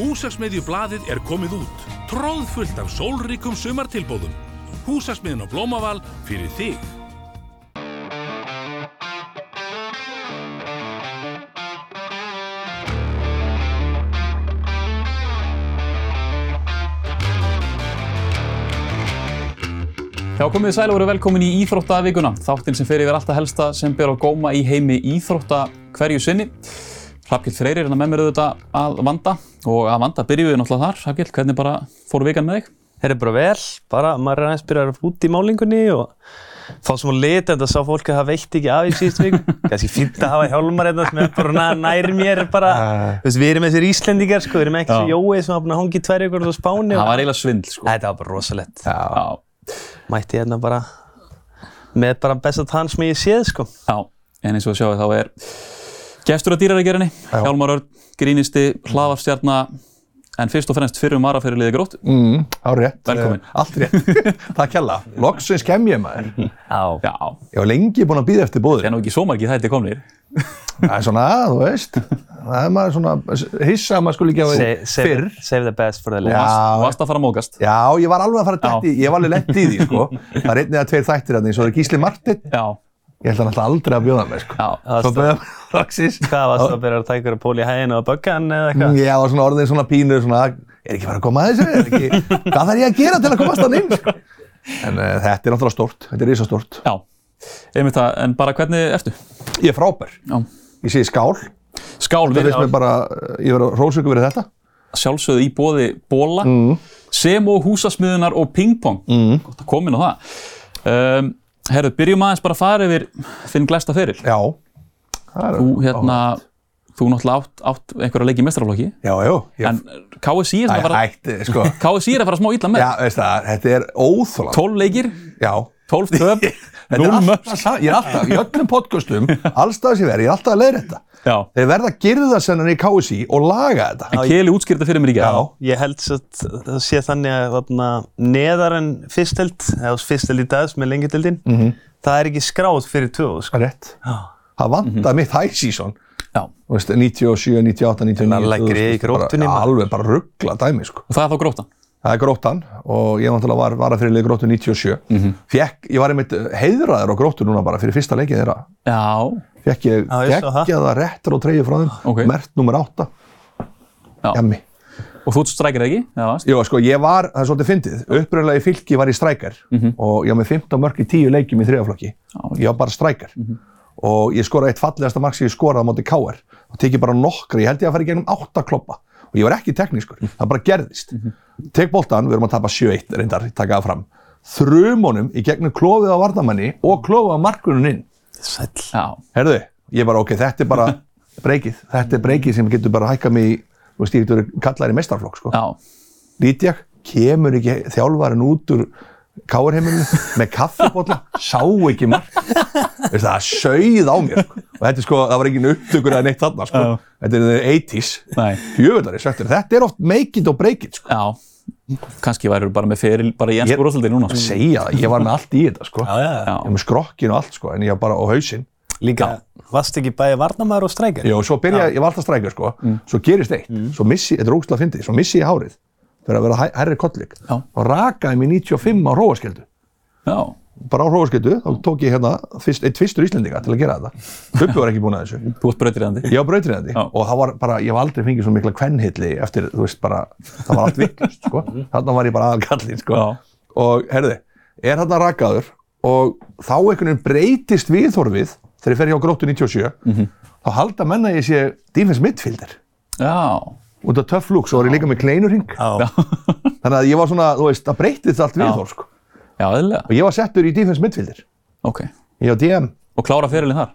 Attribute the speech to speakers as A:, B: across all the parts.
A: Húsasmiðjublaðið er komið út, tróðfullt af sólríkum sumartilbóðum. Húsasmiðin á Blómaval fyrir þig.
B: Já, komið þið sæl og verið velkomin í Íþróttavikuna, þáttinn sem fer yfir alltaf helsta sem ber á góma í heimi Íþrótta hverju sinni. Hrafkill Freyr er hérna með mér auðvitað að vanda og að vanda byrjum við náttúrulega þar. Hrafkill, hvernig bara fór vikan með þig?
C: Þeir eru bara vel, bara maður er aðeins byrjar að fara út í málingunni og fá smá lit en það sá fólk að það veitt ekki af í síðust vik kannski fínt að hafa hjálmar hérna sem er bara na- nær mér bara, þú veist, við erum þessir Íslendingar sko, við erum ekki
B: Já.
C: svo Jói sem hafa búin að hangi tvær ykkur á Spáni
B: Það
C: og...
B: var eiginlega svindl, sko.
C: Þetta var bara rosalett
B: Já,
C: Mætti hérna bara með bara besta tann sem ég séð sko
B: já, en eins og sjáu þá er gestur að dýrarækjerinni, Hjálmar Örn, grínisti, hlaðarstjarnar, en fyrst og fremst fyrrum maraferðiliði grótt.
D: Mm, á rétt.
B: Velkomin.
D: Eh, Allt rétt. Takk hella. Loksins kem ég maður.
C: Já,
B: Já,
D: Ég var lengi búinn að býða eftir
B: það
D: bóðir.
B: er nú ekki svo margið þætti komnir. Hérna.
D: Það er svona, þú veist, það er maður svona hissa að maður skulle ekki hafa
C: save, save, save the best for the
D: Já.
C: last
B: Vast, vast að fara að mókast.
D: Já, ég var alveg að fara að detti, ég var alveg lett í því, sko. Það er einn eða tveir þættir að því, svo er Gísli Martin.
B: Já,
D: Ég held hann alltaf aldrei að bjóða mér, sko.
B: já,
D: Svo bjóða mér loksins. Mm,
C: Hvað varst það að byrja að taka ykkur að pól í hæðina og bögga hann eða eitthvað?
D: Ég var svona orðin svona pínur, svona, er ekki fara að koma að þessu? Er ekki, hvað þarf ég að gera til að komast hann inn, sko? En uh, þetta er náttúrulega stórt, þetta er risastórt.
B: já. Einmitt það, en bara hvernig ertu?
D: Ég er frábær.
B: Já.
D: Ég segi skál,
B: Skál,
D: Það
B: við
D: finnst mér bara, uh, ég verið rósöku verið þetta.
B: sjálfsögðu í bóði bóla
D: Mm.
B: sem og húsasmiðunar og pingpong mm. gott að komin á það um, herru, byrjum aðeins bara að fara yfir þinn glæsta feril
D: Já. Það er,
B: þú hérna, þú náttúrulega átt, átt einhverja leiki í mestrarflokki
D: já, já. Ég,
B: en KSI er,
D: æ,
B: að fara,
D: hætti, sko.
B: KSI er að fara smá illa með
D: já, veist það, þetta er óþólað.
B: 12 leikir,
D: Já.
B: 12 töf
D: Þetta
B: 0
D: er
B: mörg
D: alltaf, sa- ég er alltaf, í öllum podcastum, allstað sem ég verið, ég er alltaf að leiða þetta.
B: já,
D: Þeir verða að girða sennan í KSI og laga þetta.
B: en Keli útskýrði fyrir mér í gær
C: Ég held svo að það sé þannig að þarna, neðar en fyrsteld, eða fyrsteld í dag sem er lengjadildin, það er ekki skráð fyrir tvö, sko.
D: Það Mhm. er rétt. Það vantar
B: Mhm.
D: mitt high season.
B: já. og
D: Þú veist, 97, 98, 99.
C: Þannig að leggir í
D: 2000, bara-
C: gróttunni, maður.
D: Alveg bara ruggla dæmi, sko.
B: það er þá grótan
D: Það er gróttan og ég náttúrulega var, var að fyrir leik gróttu 97. Mm
C: Mhm.
D: ég var einmitt heiðraður á gróttu núna bara fyrir fyrsta leikið þeirra
B: já,
D: fekk ég
C: Já, ég sá það.
D: geggjaða réttur og treyju frá þeim,
B: Ok.
D: mert nummer 8,
B: já.
D: jammi.
B: og þú strækir það ekki já, varst?
D: Jó, sko, ég var, það er svolítið fyndið, uppröðlega í fylki var ég strækar og ég var með 15 mörg í 10 leikjum í þriðaflokki. Ég var bara strækar og ég skoraði eitt fallegasta mark sem ég skoraði á móti KR og tekið bara nokkra, ég held ég að fara í gegnum 8 kloppa og ég var ekki teknískur, það bara gerðist. Tek boltan, við erum að tapa 7-1 reyndar, taka það fram. Þrumunum í gegnum klófið á vardamanni og klófið á markunum inn.
C: Sæll.
B: já,
D: Herðu, ég bara, ok, þetta er bara breykið. Þetta er breykið sem getur bara hækkað mig í, þú veist, ég getur kallar í mestarflokk, sko.
B: já,
D: Lítjak, kemur ekki þjálfarinn út úr káarheimilinu með kaffibotla, sá ekki mark. Veist, það sögð á mér, sko. Og þetta er sko, það var engin upptökur eða neitt þarna, sko.
B: Já.
D: Þetta er the 80s.
B: Nei.
D: Jöfnari, sagt þér, þetta er oft make it og break it, sko.
B: já kannski værið bara með feril bara í
D: Ég-
B: ennsku úrvalsdeildinni núna sko.
D: Segja það, ég var með allt í þetta, sko.
C: Já, já, já.
B: Já.
D: Ég var með skrokkin og allt, sko, en ég var bara á hausinn.
C: Líka, varst ekki bæði varnamæður og streikar?
D: Já, og svo byrja, ég var alltaf strækjur sko, svo gerist eitt, svo missi, þetta er ógstlega fyndið, svo missi ég hárið fyrir að vera hæ- hærri kollík
B: Já.
D: og rakaði mér 95 á róaskeldu.
B: já,
D: Bara á róaskeldu, þá tók ég hérna fyrst, eitt fyrstur Íslendinga til að gera þetta. Bubbi var ekki búinn að þessu.
B: Þú ert brautirandi?
D: Ég var brautriðandi
B: Já.
D: og það var bara, ég hef aldrei fengið svo mikla kvennhilli eftir, þú veist, bara, það var allt viklust, sko. Þarna var ég bara aðalkallin, sko.
B: Já.
D: Og, herði, er þarna rakaður og þá einhvern veginn breytist viðhorfið þegar ég fer hjá gróttu 97, þá halda menna ég sé defense midfielder
B: Já.
D: út af töff lúk, svo var ég líka með kleinurhing.
C: Já.
D: Þannig að ég var svona, þú veist, það breytist allt viðhorf, sko.
B: Já, eðlilega.
D: Og ég var settur í defense midfielder.
B: Ok.
D: Ég var DM.
B: Og klára ferilinn þar?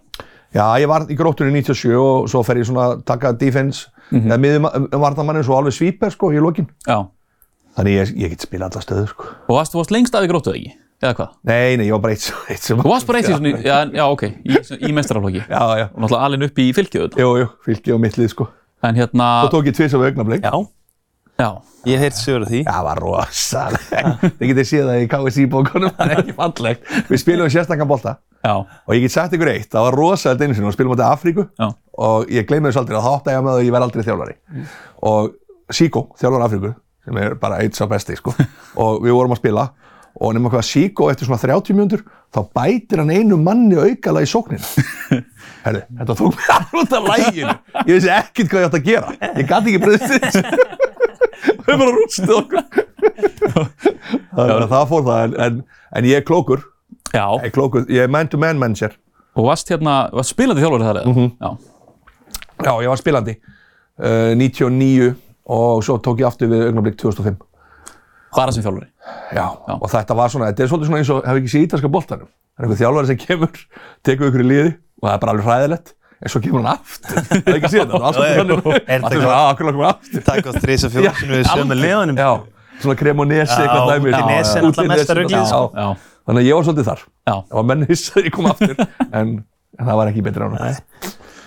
D: Já, ég var í gróttunni 97 og svo fer ég svona að taka defense, eða miðum vartamannin svo alveg svíper, sko, í lokin.
B: Já.
D: Þannig ég, ég get spila alla stöður, sko.
B: Og varst, þú varst lengst af í gróttu eða ekki? Eða hvað?
D: Nei, nei, ég var bara eitt, eitt sem...
B: Þú varst bara eitt í svona, já, en- já ok, í, í meistaraflokki.
D: Já, já.
B: Og náttúrulega alinn upp í fylgjöðu þetta.
D: Jú, jú, fylgið og mittlið, sko.
B: En hérna,
D: Svo tók ég tvis af augnablik.
C: Já,
B: já,
C: ég heirt sögur af því.
D: Það var rosalegt. Þið getið séð það í KSI-bókunum, það er ekki fallegt. Við spilum sérstakkan bolta
B: já,
D: og ég get sagt ykkur eitt, það var rosalegt einu sinni og spilum á þetta Afríku
B: já,
D: og ég gleymi þessu aldrei og þá átta ég að með það að ég verð aldrei þjálfari. Og Siko, þjálfur Afríku sem er bara eitt sá besti sko. og við vorum að spila og nema hvað Siko eftir svona 30 mínútur þá bætir hann einu manni aukala í sóknina Herri, þetta tók mér alveg út af læginu ég vissi ekkert hvað ég átt að gera ég gæti ekki breyðist þess við bara rústið okkur það, er- það fór það en, en, en ég er klókur
B: Já,
D: ég er klókur, ég er man to man manager
B: og varst hérna, varst spilandi þjálfur þar eða?
D: Mhm.
B: Já,
D: já, ég var spilandi uh, 99 og svo tók ég aftur við augnablík 2005
B: bara sem þjálfari.
D: Já, og þetta var svona, þetta er svolítið svona eins og hefur ekki séð ítalska boltanum. Það er einhver þjálfari sem kemur, tekur ykkur í liði og það er bara alveg hræðilegt, en svo kemur hann aftur. Það er ekki séð þetta, það var
C: Já, já, já. Er
D: svolítið þannig. Það er
C: þetta-
D: svona, að, akkur langar aftur.
C: Takk á þrís og
D: Já,
C: fjóðum sinni við sömu liðanum.
D: Já, svona kremonesi,
C: Já,
D: eitthvað dæmi.
C: Udinese er náttúrulega mesta ruglið,
D: Já,
C: sko.
B: Já,
D: þannig að ég var svolítið þar.
B: já.
D: Það var menn hissað að ég kom aftur, en en það var ekki betra ána.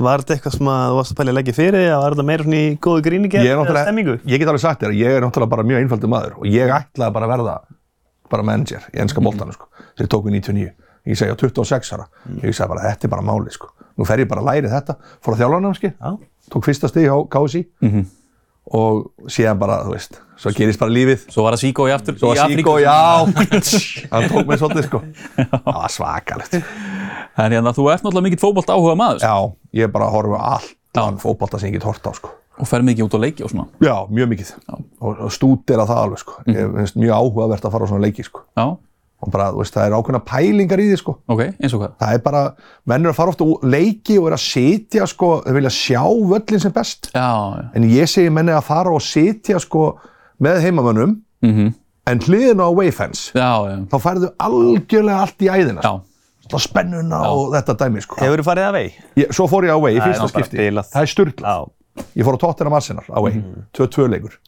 C: Var þetta eitthvað sem að þú varst að pæli að leggja fyrir eða var þetta meira svona í góðu gríningi
D: Ég, er
C: eða
D: náttúrulega-
C: stemmingu?
D: ég get alveg sagt þér að ég er náttúrulega bara mjög einfaldur maður og ég ætlaði bara að verða bara manager í ennska boltanum sko, sem ég tók við 99. Ég segi á 26 ára, ég sagði bara þetta er bara málið sko. Nú fer ég bara að læri þetta, fór að þjálfa námski,
C: Já.
D: tók fyrsta stig á KSI
B: Mhm.
D: og síðan bara, þú veist, svo gerist bara lífið.
B: Svo var það Svíkó í aftur
D: Svo
B: í
D: var
B: Afríku.
D: Siko, já, hann tók mig svolítið sko. Það var svakalegt.
B: En hérna, þú ert náttúrulega mikill fótbolt áhuga maður
D: Já, ég bara horfa á allt,
B: Já.
D: allan fótbolta sem ég get hort á sko.
B: og fer mikið út á leiki og svona.
D: Já, mjög mikið. Og, og stúdera það alveg, sko. Ég finnst mjög áhugavert að fara á svona leiki, sko.
B: Já,
D: Og bara, þú veist, það er ákveðna pælingar í því, sko.
B: ok, eins og hvað.
D: Það er bara, menn eru að fara ofta úr leiki og eru að sitja, sko, þau vilja sjá völlin sem best.
B: Já, já.
D: En ég segi menn er að fara og sitja, sko, með heimamönnum,
B: Mhm.
D: en hliðin á Wayfans,
B: Já, já.
D: þá færðu algjörlega allt í æðina.
B: Já,
D: sko. Svona Spennuna og þetta dæmi, sko.
C: Hefur þú farið að vei?
D: Ég, svo fór ég á Way
C: Það
D: í
C: er nú
D: fyrsta
C: bara
D: skipti.
C: bilað.
D: Það er styrla.
C: Já.
D: Ég fór á Tottenham Arsenal á Way, 2-2 leikur.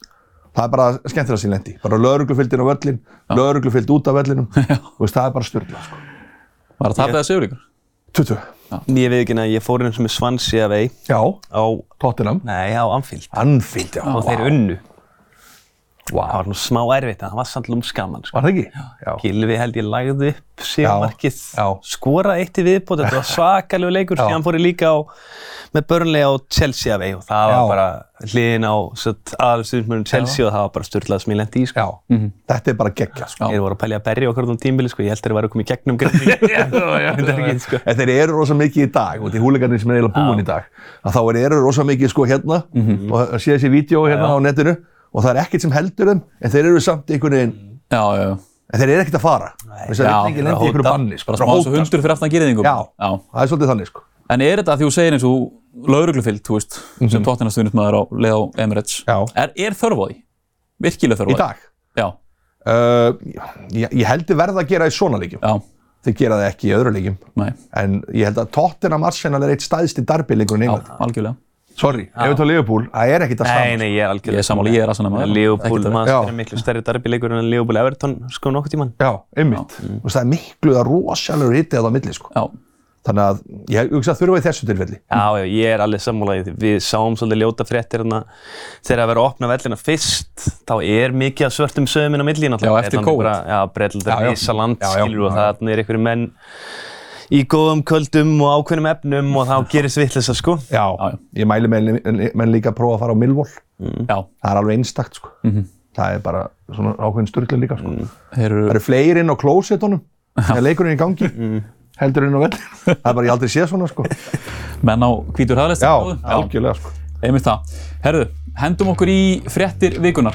D: Það er bara skemmtilega sem ég lendi. í. Bara lögreglufyldin á völlin, lögreglufyld út af völlinum. Þú veist, það er bara styrla. Sko.
B: var það tapið að segjur ykkur?
D: 2-2.
C: Ég veit ekki að ég fór eins og með svansi að vei
D: Já,
C: á,
D: Tottenham.
C: nei, á Anfield
D: Anfield, já.
C: og
D: vá.
C: þeir unnu.
D: Vá.
C: Það var nú smá erfitt, en það var samt lúmskaman. Sko.
D: Var það ekki? Já.
C: Gilvi held ég lagði upp sigurmarkið,
D: Já.
C: skoraði eitt í viðbót, þetta var svakalegu leikur,
D: Já.
C: síðan fór ég líka á, með Burnley á Chelsea að vei og það var
D: Já.
C: bara hliðin á aðalstuðismörnum Chelsea og það var bara styrlað sem ég lendi í. Sko.
D: Já. Þetta er bara geggja, sko.
B: Já.
C: Þeir voru að pælja að berja okkur um tímbili, sko. ég held þeir væru að koma í gegnum greið. sko.
D: En þeir eru rosa mikið í dag, og þeir húlegarnir sem er eiginlega búin í dag, að þá er- eru rosa mikið sko hérna, og það sé þessi vídeo hérna á netinu, og það er ekkert sem heldur þeim, en þeir eru samt einhvern veginn,
B: Já, já, já.
D: en þeir eru ekkert að fara. Þess að
B: Já, bara
D: þeir eru ekki lendi í einhverju
C: hóta.
D: banni, sko.
B: Bara smá eins og
D: hóta,
B: hundur fyrir aftan gyrðingum.
D: Já. Það er svolítið þannig sko.
B: En er þetta að því þú segir eins og lauruglufild, þú veist, sem tóttinastuðnismæður á leið á Emirates.
D: Mhm. Já.
B: Er, er þörf á því? Virkilega þörf á
D: Í
B: því?
D: dag.
B: Já,
D: Uh, ég, ég heldur verða að gera í svona leikjum.
B: já,
D: Þeir gera það ekki í öðru leikjum.
B: nei,
D: En ég held að Tottenham Arsenal er eitt staðsti darbi leikur en
B: já,
D: England.
B: algjörlega.
D: Sorry, ef við tóðum Liverpool, það er ekkit að
C: Nei,
D: staðast.
C: nei, ég er algjörlega.
B: Ég er sammála, ég er Arsenal maður.
C: Leopold
B: Ekkert að-
C: maður
D: Já.
C: það er miklu stærri darbileikur en Leopold Everton sko nokkuð tíman.
D: Já, einmitt. Já. Það er miklu að rosalur hitti að það á milli sko.
B: Já,
D: Þannig að ég hugsa að þurfa í þessu tilfelli.
C: Já, já, ég er alveg sammála í því. Við sáum svolítið ljóta fréttir hérna þegar að vera að opna vellina fyrst, þá er mikið af svörtum sögum inn á milli náttúrulega.
B: Já, eftir
C: Bretland er
B: COVID.
C: bara- Já, Breitland
D: Já,
C: er
D: já.
C: reysa land,
D: Já, já.
C: skilur, og það er einhverju menn í góðum kvöldum og ákveðnum efnum og þá gerist vitleisa, sko.
D: Já,
B: já.
D: ég mæli menn, menn líka að prófa að fara á Millwall.
B: já,
D: Það er alveg einstakt sko. Það er bara svona ákveðin styrla líka sko.
B: þeir eru,
D: Það eru fleiri inn á klósetunum þegar leikurinn er í gangi heldur inn á vellinu. Það er bara, ég hef aldrei séð svona sko.
B: menn á hvítur hraðlist.
D: Já, algjörlega sko.
B: Einmitt það. Herðu, hendum okkur í fréttir vikunar.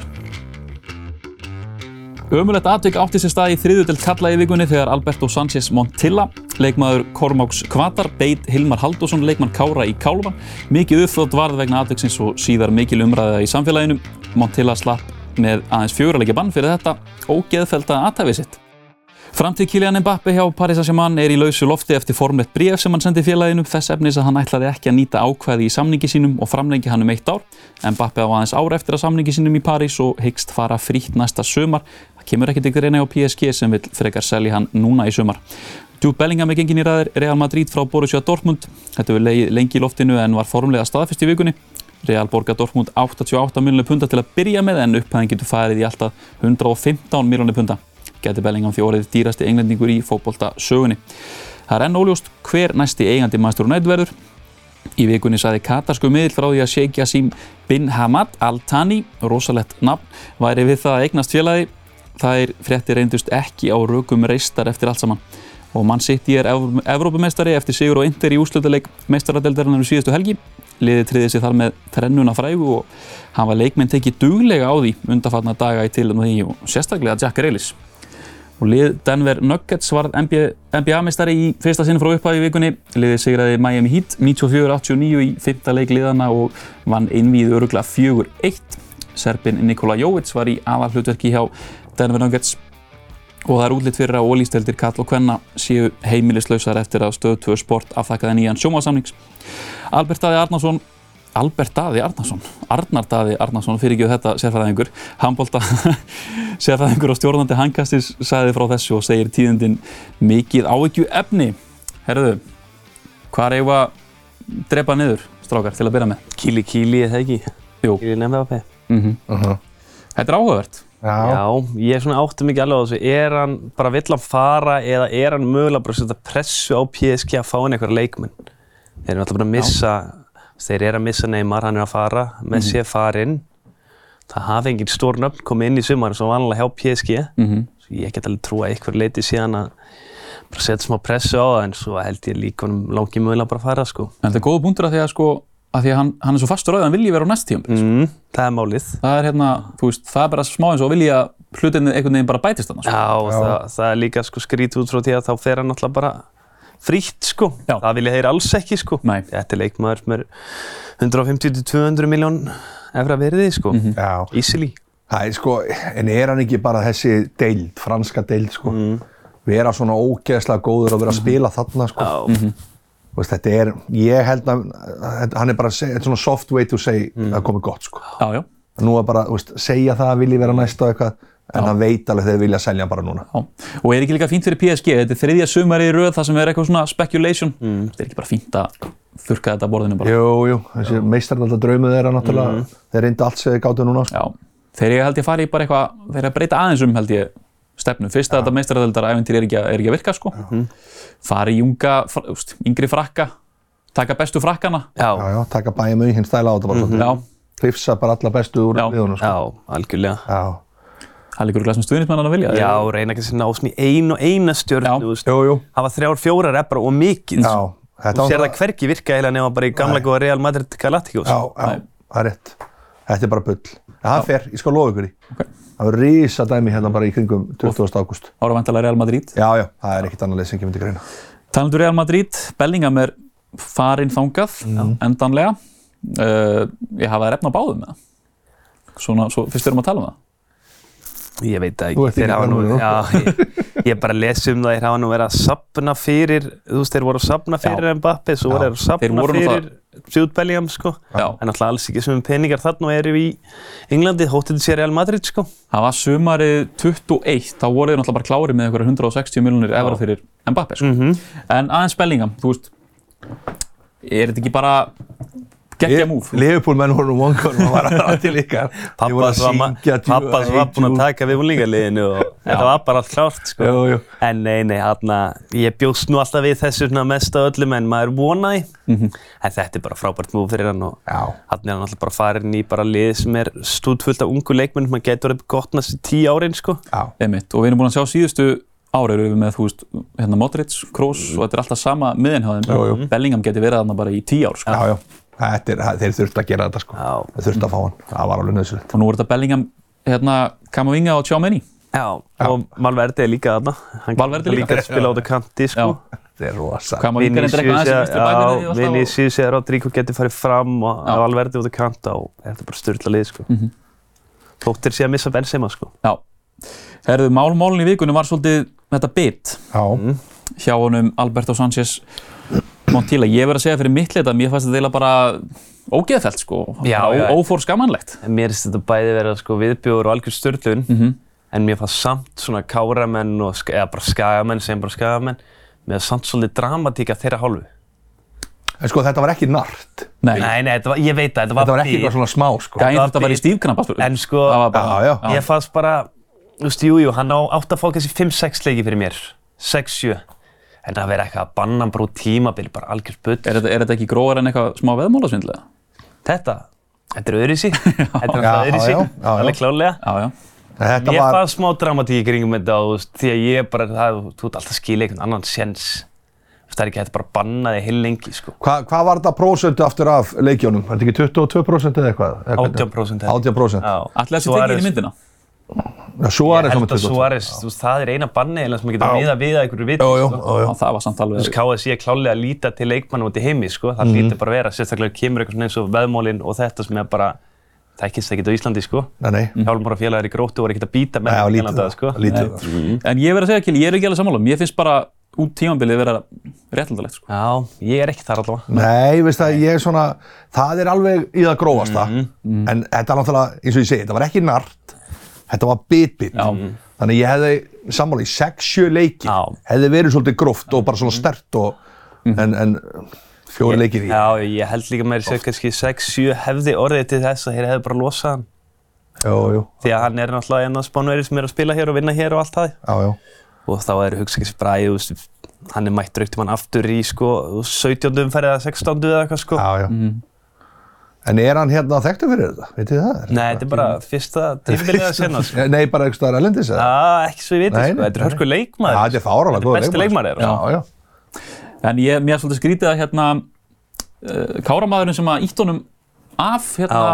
B: Ömulegt atvik átti sér stað í þriðudelt kalla í vikunni þegar Alberto Sanchez Montilla, leikmaður Kormáks Kvatar, beit Hilmar Haldursson, leikmann Kára í Kálvan. Mikið uppþótt varð vegna atviksins og síðar mikil umræða í samfélaginu. Montilla slapp með aðeins fjögurleikja bann fyrir þetta og geðfelda aðtæfið sitt. Framtíð Kylian Mbappe hjá Paris Saint-Germain er í lausu lofti eftir formlegt bréf sem hann sendi félaginu þess efnis að hann ætlaði ekki að nýta ákvæði í samningi sínum og framlengi hann um eitt ár. Mbappe á aðeins ár eftir að samningi sínum í Paris og hyggst fara frítt næsta sömar. Það kemur ekkert ykkur reyna á PSG sem vil frekar selja hann núna í sömar. Jude Bellingham er gengin í ræðir Real Madrid frá Borussia Dortmund. Þetta við leið lengi í loftinu en var formlega staðfest í vikunni. Real borgar Dortmund 88 miljonir punda til að byrja með en upphæðin getur farið í alltaf 115 miljonir punda. Gæti Bellingham fjórið dýrasti englendingur í fótbolta sögunni. Það er enn óljóst hver næsti eigandi Master United verður. Í vikunni saði katarsku miðl frá því að Sheikh Yassim bin Hamad Al-Thani, rosalett nafn, væri við það að eignast félagi. Þær frétti reyndust ekki á rökum reistar eftir allt saman. Og mann sitt í er Ev- Evrópumeistari eftir sigur og indir í úslutaleik meistaradeldarinnar um síðustu helgi. Liðið triðið sér þar með trennuna frægu og hann var leikmenn tekið duglega á því undarfarna daga í tilum því og sérstaklega Jack Grealish. Og lið Denver Nuggets varð NBA-mestari í fyrsta sinn frá upphafi í vikunni. Liðið sigraði Miami Heat 94-89 í fyrta leik liðana og vann innvíð örugla 4-1. Serbin Nikola Jovic var í aðalhlutverki hjá Denver Nuggets og það er útlitt fyrir að ólýsteldir kall og kvenna séu heimilislausar eftir að stöð 2 sport afþakkaði nýjan sjómasamnings. Albert Daði Arnason Albert Daði Arnason Arnar Daði Arnason fyrirgjöð þetta sérfæðaðingur handbólta sérfæðingur og stjórnandi hangkastis sagði frá þessu og segir tíðindin mikið áhyggju efni Herðu, hvað er að drepa niður, strákar, til að byrja með?
C: Kíli kíli eða ekki?
B: Jú.
C: Kíli nefnir að
B: Mhm. Þetta er áhugavert
D: Uh-huh. Já.
C: Já, ég svona átti mikið alveg á þessu. Er hann bara vill hann fara eða er hann mögulega bara að setja pressu á PSG að fá hann einhverja leikmenn? Þeir eru alltaf bara að missa, þeir eru að missa Neymar, hann er að fara, Messi er farinn. Það hafi engin stór nöfn komið inn í sumar sem vanlega hjá PSG.
B: Mhm.
C: Svo ég get alveg trúa að einhver leiti síðan að bara setja smá pressu á það en svo held ég líka honum langi mögulega bara að fara sko.
B: En þetta er góð punktur að því að sko að því að hann, hann er svo fastur á því að hann vilji vera á næst tíum
C: Mm, það er málið.
B: það er hérna, þú veist, það er bara smá eins og að vilja að hlutinni einhvern veginn bara bætist hann sko.
C: Já, og það, það er líka sko skrítið út frá því að þá fer hann náttúrulega bara frítt sko.
B: Já.
C: Það vilja þeir alls ekki sko.
B: Nei.
C: Þetta er leikmaður sem er 150-200 miljón efra verðið sko. Mm
B: Mhm.
D: Já.
C: Easily.
D: Það er sko, en er hann ekki bara þessi deild, franska deild sko, vera svona ógeðslega góður og vera að spila þarna sko.
C: Já.
D: Þú Veist, þetta er, ég held að, að hann er bara að segja- þetta er svona soft way to say að það komi gott sko.
B: Já, já,
D: Nú er bara, þú veist, segja það að vilji vera næst og eitthvað, en hann veit alveg þeir vilja selja hann bara núna.
B: já og er ekki líka fínt fyrir PSG, þetta er þriðja sumari í röð það sem er eitthvað svona speculation þetta er ekki bara fínt að þurka þetta að borðinu bara
D: Jú, jú, þessi meistarinn alltaf draumuð þeirra náttúrulega, þeir reyndu allt sem þeir gáttu núna sko.
B: Já, þeir ég held ég fari í bara eitthvað þeir eru að breyta aðeins um held ég stefnu fyrst að þetta meistaradeldar æventir er ekki, að- er ekki að virka sko fari í unga, fr, úst, yngri frakka taka bestu frakkana
C: Já.
D: Já, já, taka bæja með hinn stæla á þetta bara svolítið.
B: Já,
D: Hrifsa bara alla bestu úr
B: Já.
D: liðunum sko.
C: Já, algjörlega.
D: Já.
B: það líkur glasum stuðnismennan að vilja
C: Já, reyna ekki að sinna á svona í ein og eina
B: Já.
C: stjórn, þú veist.
D: Jú, jú.
C: Hafa þrjár, fjórar er bara og mikið.
D: Já,
C: Þú
D: þetta
C: sér það hvergi virka heila nema bara í gamla góða Real Madrid Galacticos.
D: Já, já, það er rétt. Þetta er bara bull. En það fer, ég skal lofa ykkur í.
B: Ok.
D: Það verður rísa dæmi hérna bara í kringum 20. ágúst.
B: ára vantalega Real Madrid
D: Já, já, það er ekkert annað leið sem kemur til greina.
B: Talandur Real Madrid, Bellingham er farinn þangað, endanlega. Uh, ég hafa það refn á báðum með það. Svona, svo, fyrst við erum að tala um það.
C: Ég veit það
D: Þú
C: ekki,
D: ert
C: þeir
D: ekki
C: hafa nú,
D: gamall, sko.
C: já, ég, ég bara lesi um það, þeir hafa nú verið að sapna fyrir, þú veist, þeir voru að sapna fyrir Mbappe, svo voru þeir að
B: Þeir
C: sapna
B: voru nú
C: fyrir Jude Bellingham, sko,
B: Já.
C: en alltaf alls ekki sem peningar þarna og eru í Englandi, hóttið til sér Real Madrid, sko.
B: Það var sumarið 21, þá voru þeir náttúrulega bara klári með einhverja 160 miljónir evra fyrir Mbappe. Sko.
D: Mhm.
B: En aðeins Bellingham, þú veist, er þetta ekki bara geggja múf?
D: Leifupúl menn voru nú vongur, maður var aðra til ykkar. Þeir voru
C: Pappas var, ma- Pabba sem var búinn að taka við úlíkaliðinu og þetta var bara allt klárt, sko.
D: Jú, jú.
C: En nei, nei, hérna, ég bjóst nú alltaf við þessu svona mest af öllum en maður vonaði. En þetta er bara frábært múf fyrir hann og
D: Mhm. Já.
C: Þannig er hann alltaf bara farin í bara lið sem er stúdfullt af ungu leikmennum, hann getur verið gott næstu tíu árin sko.
D: Já.
B: Einmitt. Og við erum búin að sjá síðustu ára eru við með, þú veist, hérna Modric, Kroos og þetta er alltaf sama
D: Mhm. Jú,
B: miðinháðin.
D: jú.
B: Bellingham geti verið þarna bara í 10 ár. Sko.
D: Já, já. Þetta er, þeir þurftu að gera þetta sko.
C: Já.
D: Þeir þurftu að fá hann. Það var alveg nöðsynlegt.
B: Og nú er þetta Bellingham, hérna, Kamavinga og Tjóminni.
C: Já. Og Malverdi er líka þarna. Hann
B: Valverde
C: hann
B: líka.
C: að spila út á kanti sko.
D: Þetta er rosa.
B: Kamavinga reyndir eitthvað aðeins í vinstri bakverði.
C: Vinicius eða Rodrigo getur farið fram og
B: Já. Mhm.
C: Valverdi út á kanta og þetta er bara styrla lið sko. Þóttir sé að missa Benzema sko.
B: Já. Herðu, málmálun í vikunum var svolítið þetta bit
D: Já.
C: Mm.
B: hjá honum Alberto Sanchez Montilla. Ég verð að segja fyrir mitt leita, mér fannst þetta eiginlega bara ógeðfælt, sko.
C: Já,
B: Bara
C: já.
B: ó- Ófór skamanlegt.
C: En mér finnst þetta bæði vera sko viðbjóður og algjör störtlun
B: Mhm.
C: en mér fannst samt svona káramenn og, sk- eða bara skagamenn, sem bara skagamenn mér fannst samt svolítið dramatík af þeirra hálfu
D: En sko, þetta var ekki nart.
B: Nei,
C: Nei, nei, þetta var, ég veit að þetta var,
D: Þetta var ekki
C: bit.
D: eitthvað svona smá sko.
B: gæðin
C: það
B: þetta var í
C: bit.
B: stífknappa, sko.
C: En sko,
B: það var bara,
D: Já, já.
C: ég fannst bara, þú veist, jú, jú, hann á átt að fá kannski 5-6 leiki fyrir mér, 6-7. en það verið eitthvað að banna hann bara út tímabili, bara algjör spull.
B: Er þetta, er þetta ekki gróðar en eitthvað smá veðmálasvindlega?
C: Þetta, þetta er öðrisi, þetta er
D: Já,
C: alltaf öðrisi,
D: já, já, já.
C: alveg klálega.
B: Já, já.
D: Þetta
C: Ég
D: var,
C: fann smá dramatík í kringum þetta og þú veist, því að ég bara, það, þú ert alltaf að skilja einhvern annan sens. Þú veist, Það er ekki hægt að bara banna þig heil lengi, sko.
D: hvað, hvað var þetta prósentu aftur af leikjónum? Var þetta ekki 22% eða eitthvað? Eða hvernig?
C: 18% held ég.
D: 18%.
B: Ætli þessi tekið inn í myndina?
D: Já, Suárez
C: Ég
D: var
C: held
D: með
C: að
D: 22.
C: Suárez, þú veist, það er eina banni eiginlega sem maður getur
D: Já.
C: miða við að einhverju viti.
D: Jú, jú,
C: sko.
D: jú, jú.
B: Já, það var samt
C: Þú veist,
B: alveg...
C: KSI er klálega að líta til leikmannum út í heimi, sko.
D: Mhm.
C: Það lítur bara að vera, sérstaklega kemur eitthvað svona eins og veðmólin og þetta sem er bara, þekkist ekkert á Íslandi, sko.
D: Nei, nei.
C: Hjálmar og félagar í gróttu voru ekkert að býta
D: Nei,
C: með
D: Mhm. já,
C: þeim í
D: lítið
C: Kanada,
D: það,
C: sko.
D: lítið það.
B: En ég verð að segja, Kili, ég er ekki alveg sammála. Mér finnst bara út tímambilið vera réttaldalegt, sko.
C: Já, ég er ekki þar allavega.
D: Nei, veist það, ég er svona, það er alveg í það grófasta,
C: Mhm.
D: en þetta er náttúrulega, eins og ég segi, þetta var ekki nart, þetta var bit-bit. Þannig ég hefði sammála í 6-7 leiki,
C: Já.
D: hefði verið svolítið gróft og bara svona stert og, en, en fjóri leikir í.
C: Já, ég held líka meira sér kannski 6-7 hefði orðið til þess að þeir hefði bara losað hann.
D: Jú, jú,
C: Því að hann er náttúrulega einn af spánverið sem er að spila hér og vinna hér og allt það.
D: já, já.
C: Og þá er hugsa ekki bara, ég veist, hann er mættur eftir hann aftur í sko 17. umferð eða 16. eða eitthvað sko.
D: Já, já. En er hann hérna þekktur fyrir þetta? Vitið þið það?
C: Nei, þetta er bara fyrsta tímbilið að senna sko.
D: Nei, Nei, bara einhvers staðar erlendis eða?
C: Já, ekki svo ég viti
D: Nei,
C: sko.
D: nei,
C: Þetta er
D: nei.
C: hörku leikmaður.
D: Já, þetta er fárálega
C: Þetta
D: góð
C: er besti leikmaður er.
D: Já, já.
B: En ég, mér er svolítið skrítið að hérna, uh, káramaðurinn sem að ítt honum af, hérna,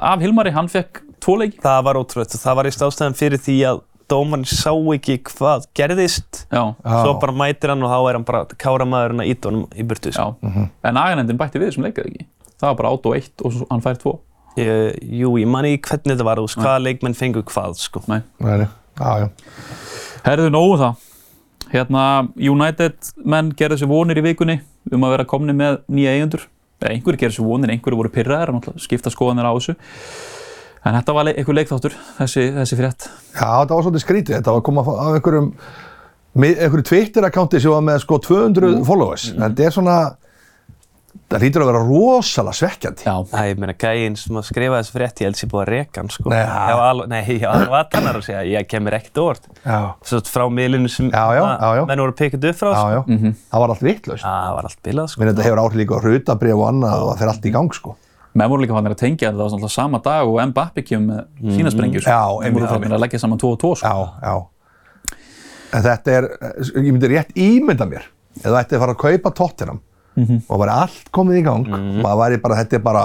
B: af Hilmari, hann fekk tvo leiki.
C: Það var ótrúlegt og það var í stáðstæðan fyrir því að dómarinn sá ekki hvað gerðist.
B: Já,
C: Svo bara mætir hann og þá er hann bara káramaðurinn að íta honum í burtu. Sko.
B: já.
D: mhm.
B: En aganendin bætti við sem leikaði ekki. Það var bara átt og eitt og svo, hann fær tvo.
C: Ég, jú, ég man ekki hvernig þetta var, þú veist, hvaða leikmenn fengu hvað, sko.
B: Nei.
D: Nei, nei. Já, já.
B: Herðu nógu það. Hérna, United menn gerðu sér vonir í vikunni um að vera komni með nýja eigendur. Eða einhverju gerðu sér vonir, einhverju voru pyrraðar, náttúrulega skipta skoðanir á þessu. En þetta var le einhver leikþáttur, þessi, þessi frétt.
D: Já, þetta var svolítið skrítið. Þetta var að koma af einhverjum, með einhverju Twitter-akkánti sem var með sko 200 followers. En þetta er svona, það hlýtur að vera rosalega svekkjandi.
B: Já.
C: Æ, ég meina, gæinn sem að skrifa þessu frétt, ég held sér búið að reka hann, sko.
D: Nei,
C: já. Ég var alveg, nei, ég var alveg aðtannar að segja, ég kemur ekkert orð.
D: Já,
C: Svo frá miðlunum sem
D: Já, já, já, já.
C: menn voru pikkað upp frá,
D: já,
C: sko.
D: já. Það var allt vittlust.
C: Það var allt bilað, sko.
D: Minn þetta hefur áhrif líka á hrutabrif og annað og það fer allt í gang sko.
B: Menn voru líka fannir að tengja þetta, það var náttúrulega sama dag og Mbappi kemur með mm. sína sprengjur.
D: Já,
B: Menn
D: einmitt,
B: voru fannir að leggja saman 2 og 2, sko.
D: Já, já. En þetta er, ég myndi rétt ímynda mér, ef þú ætti að fara að kaupa tóttinam og væri allt komið í gang, maður væri bara, þetta er bara,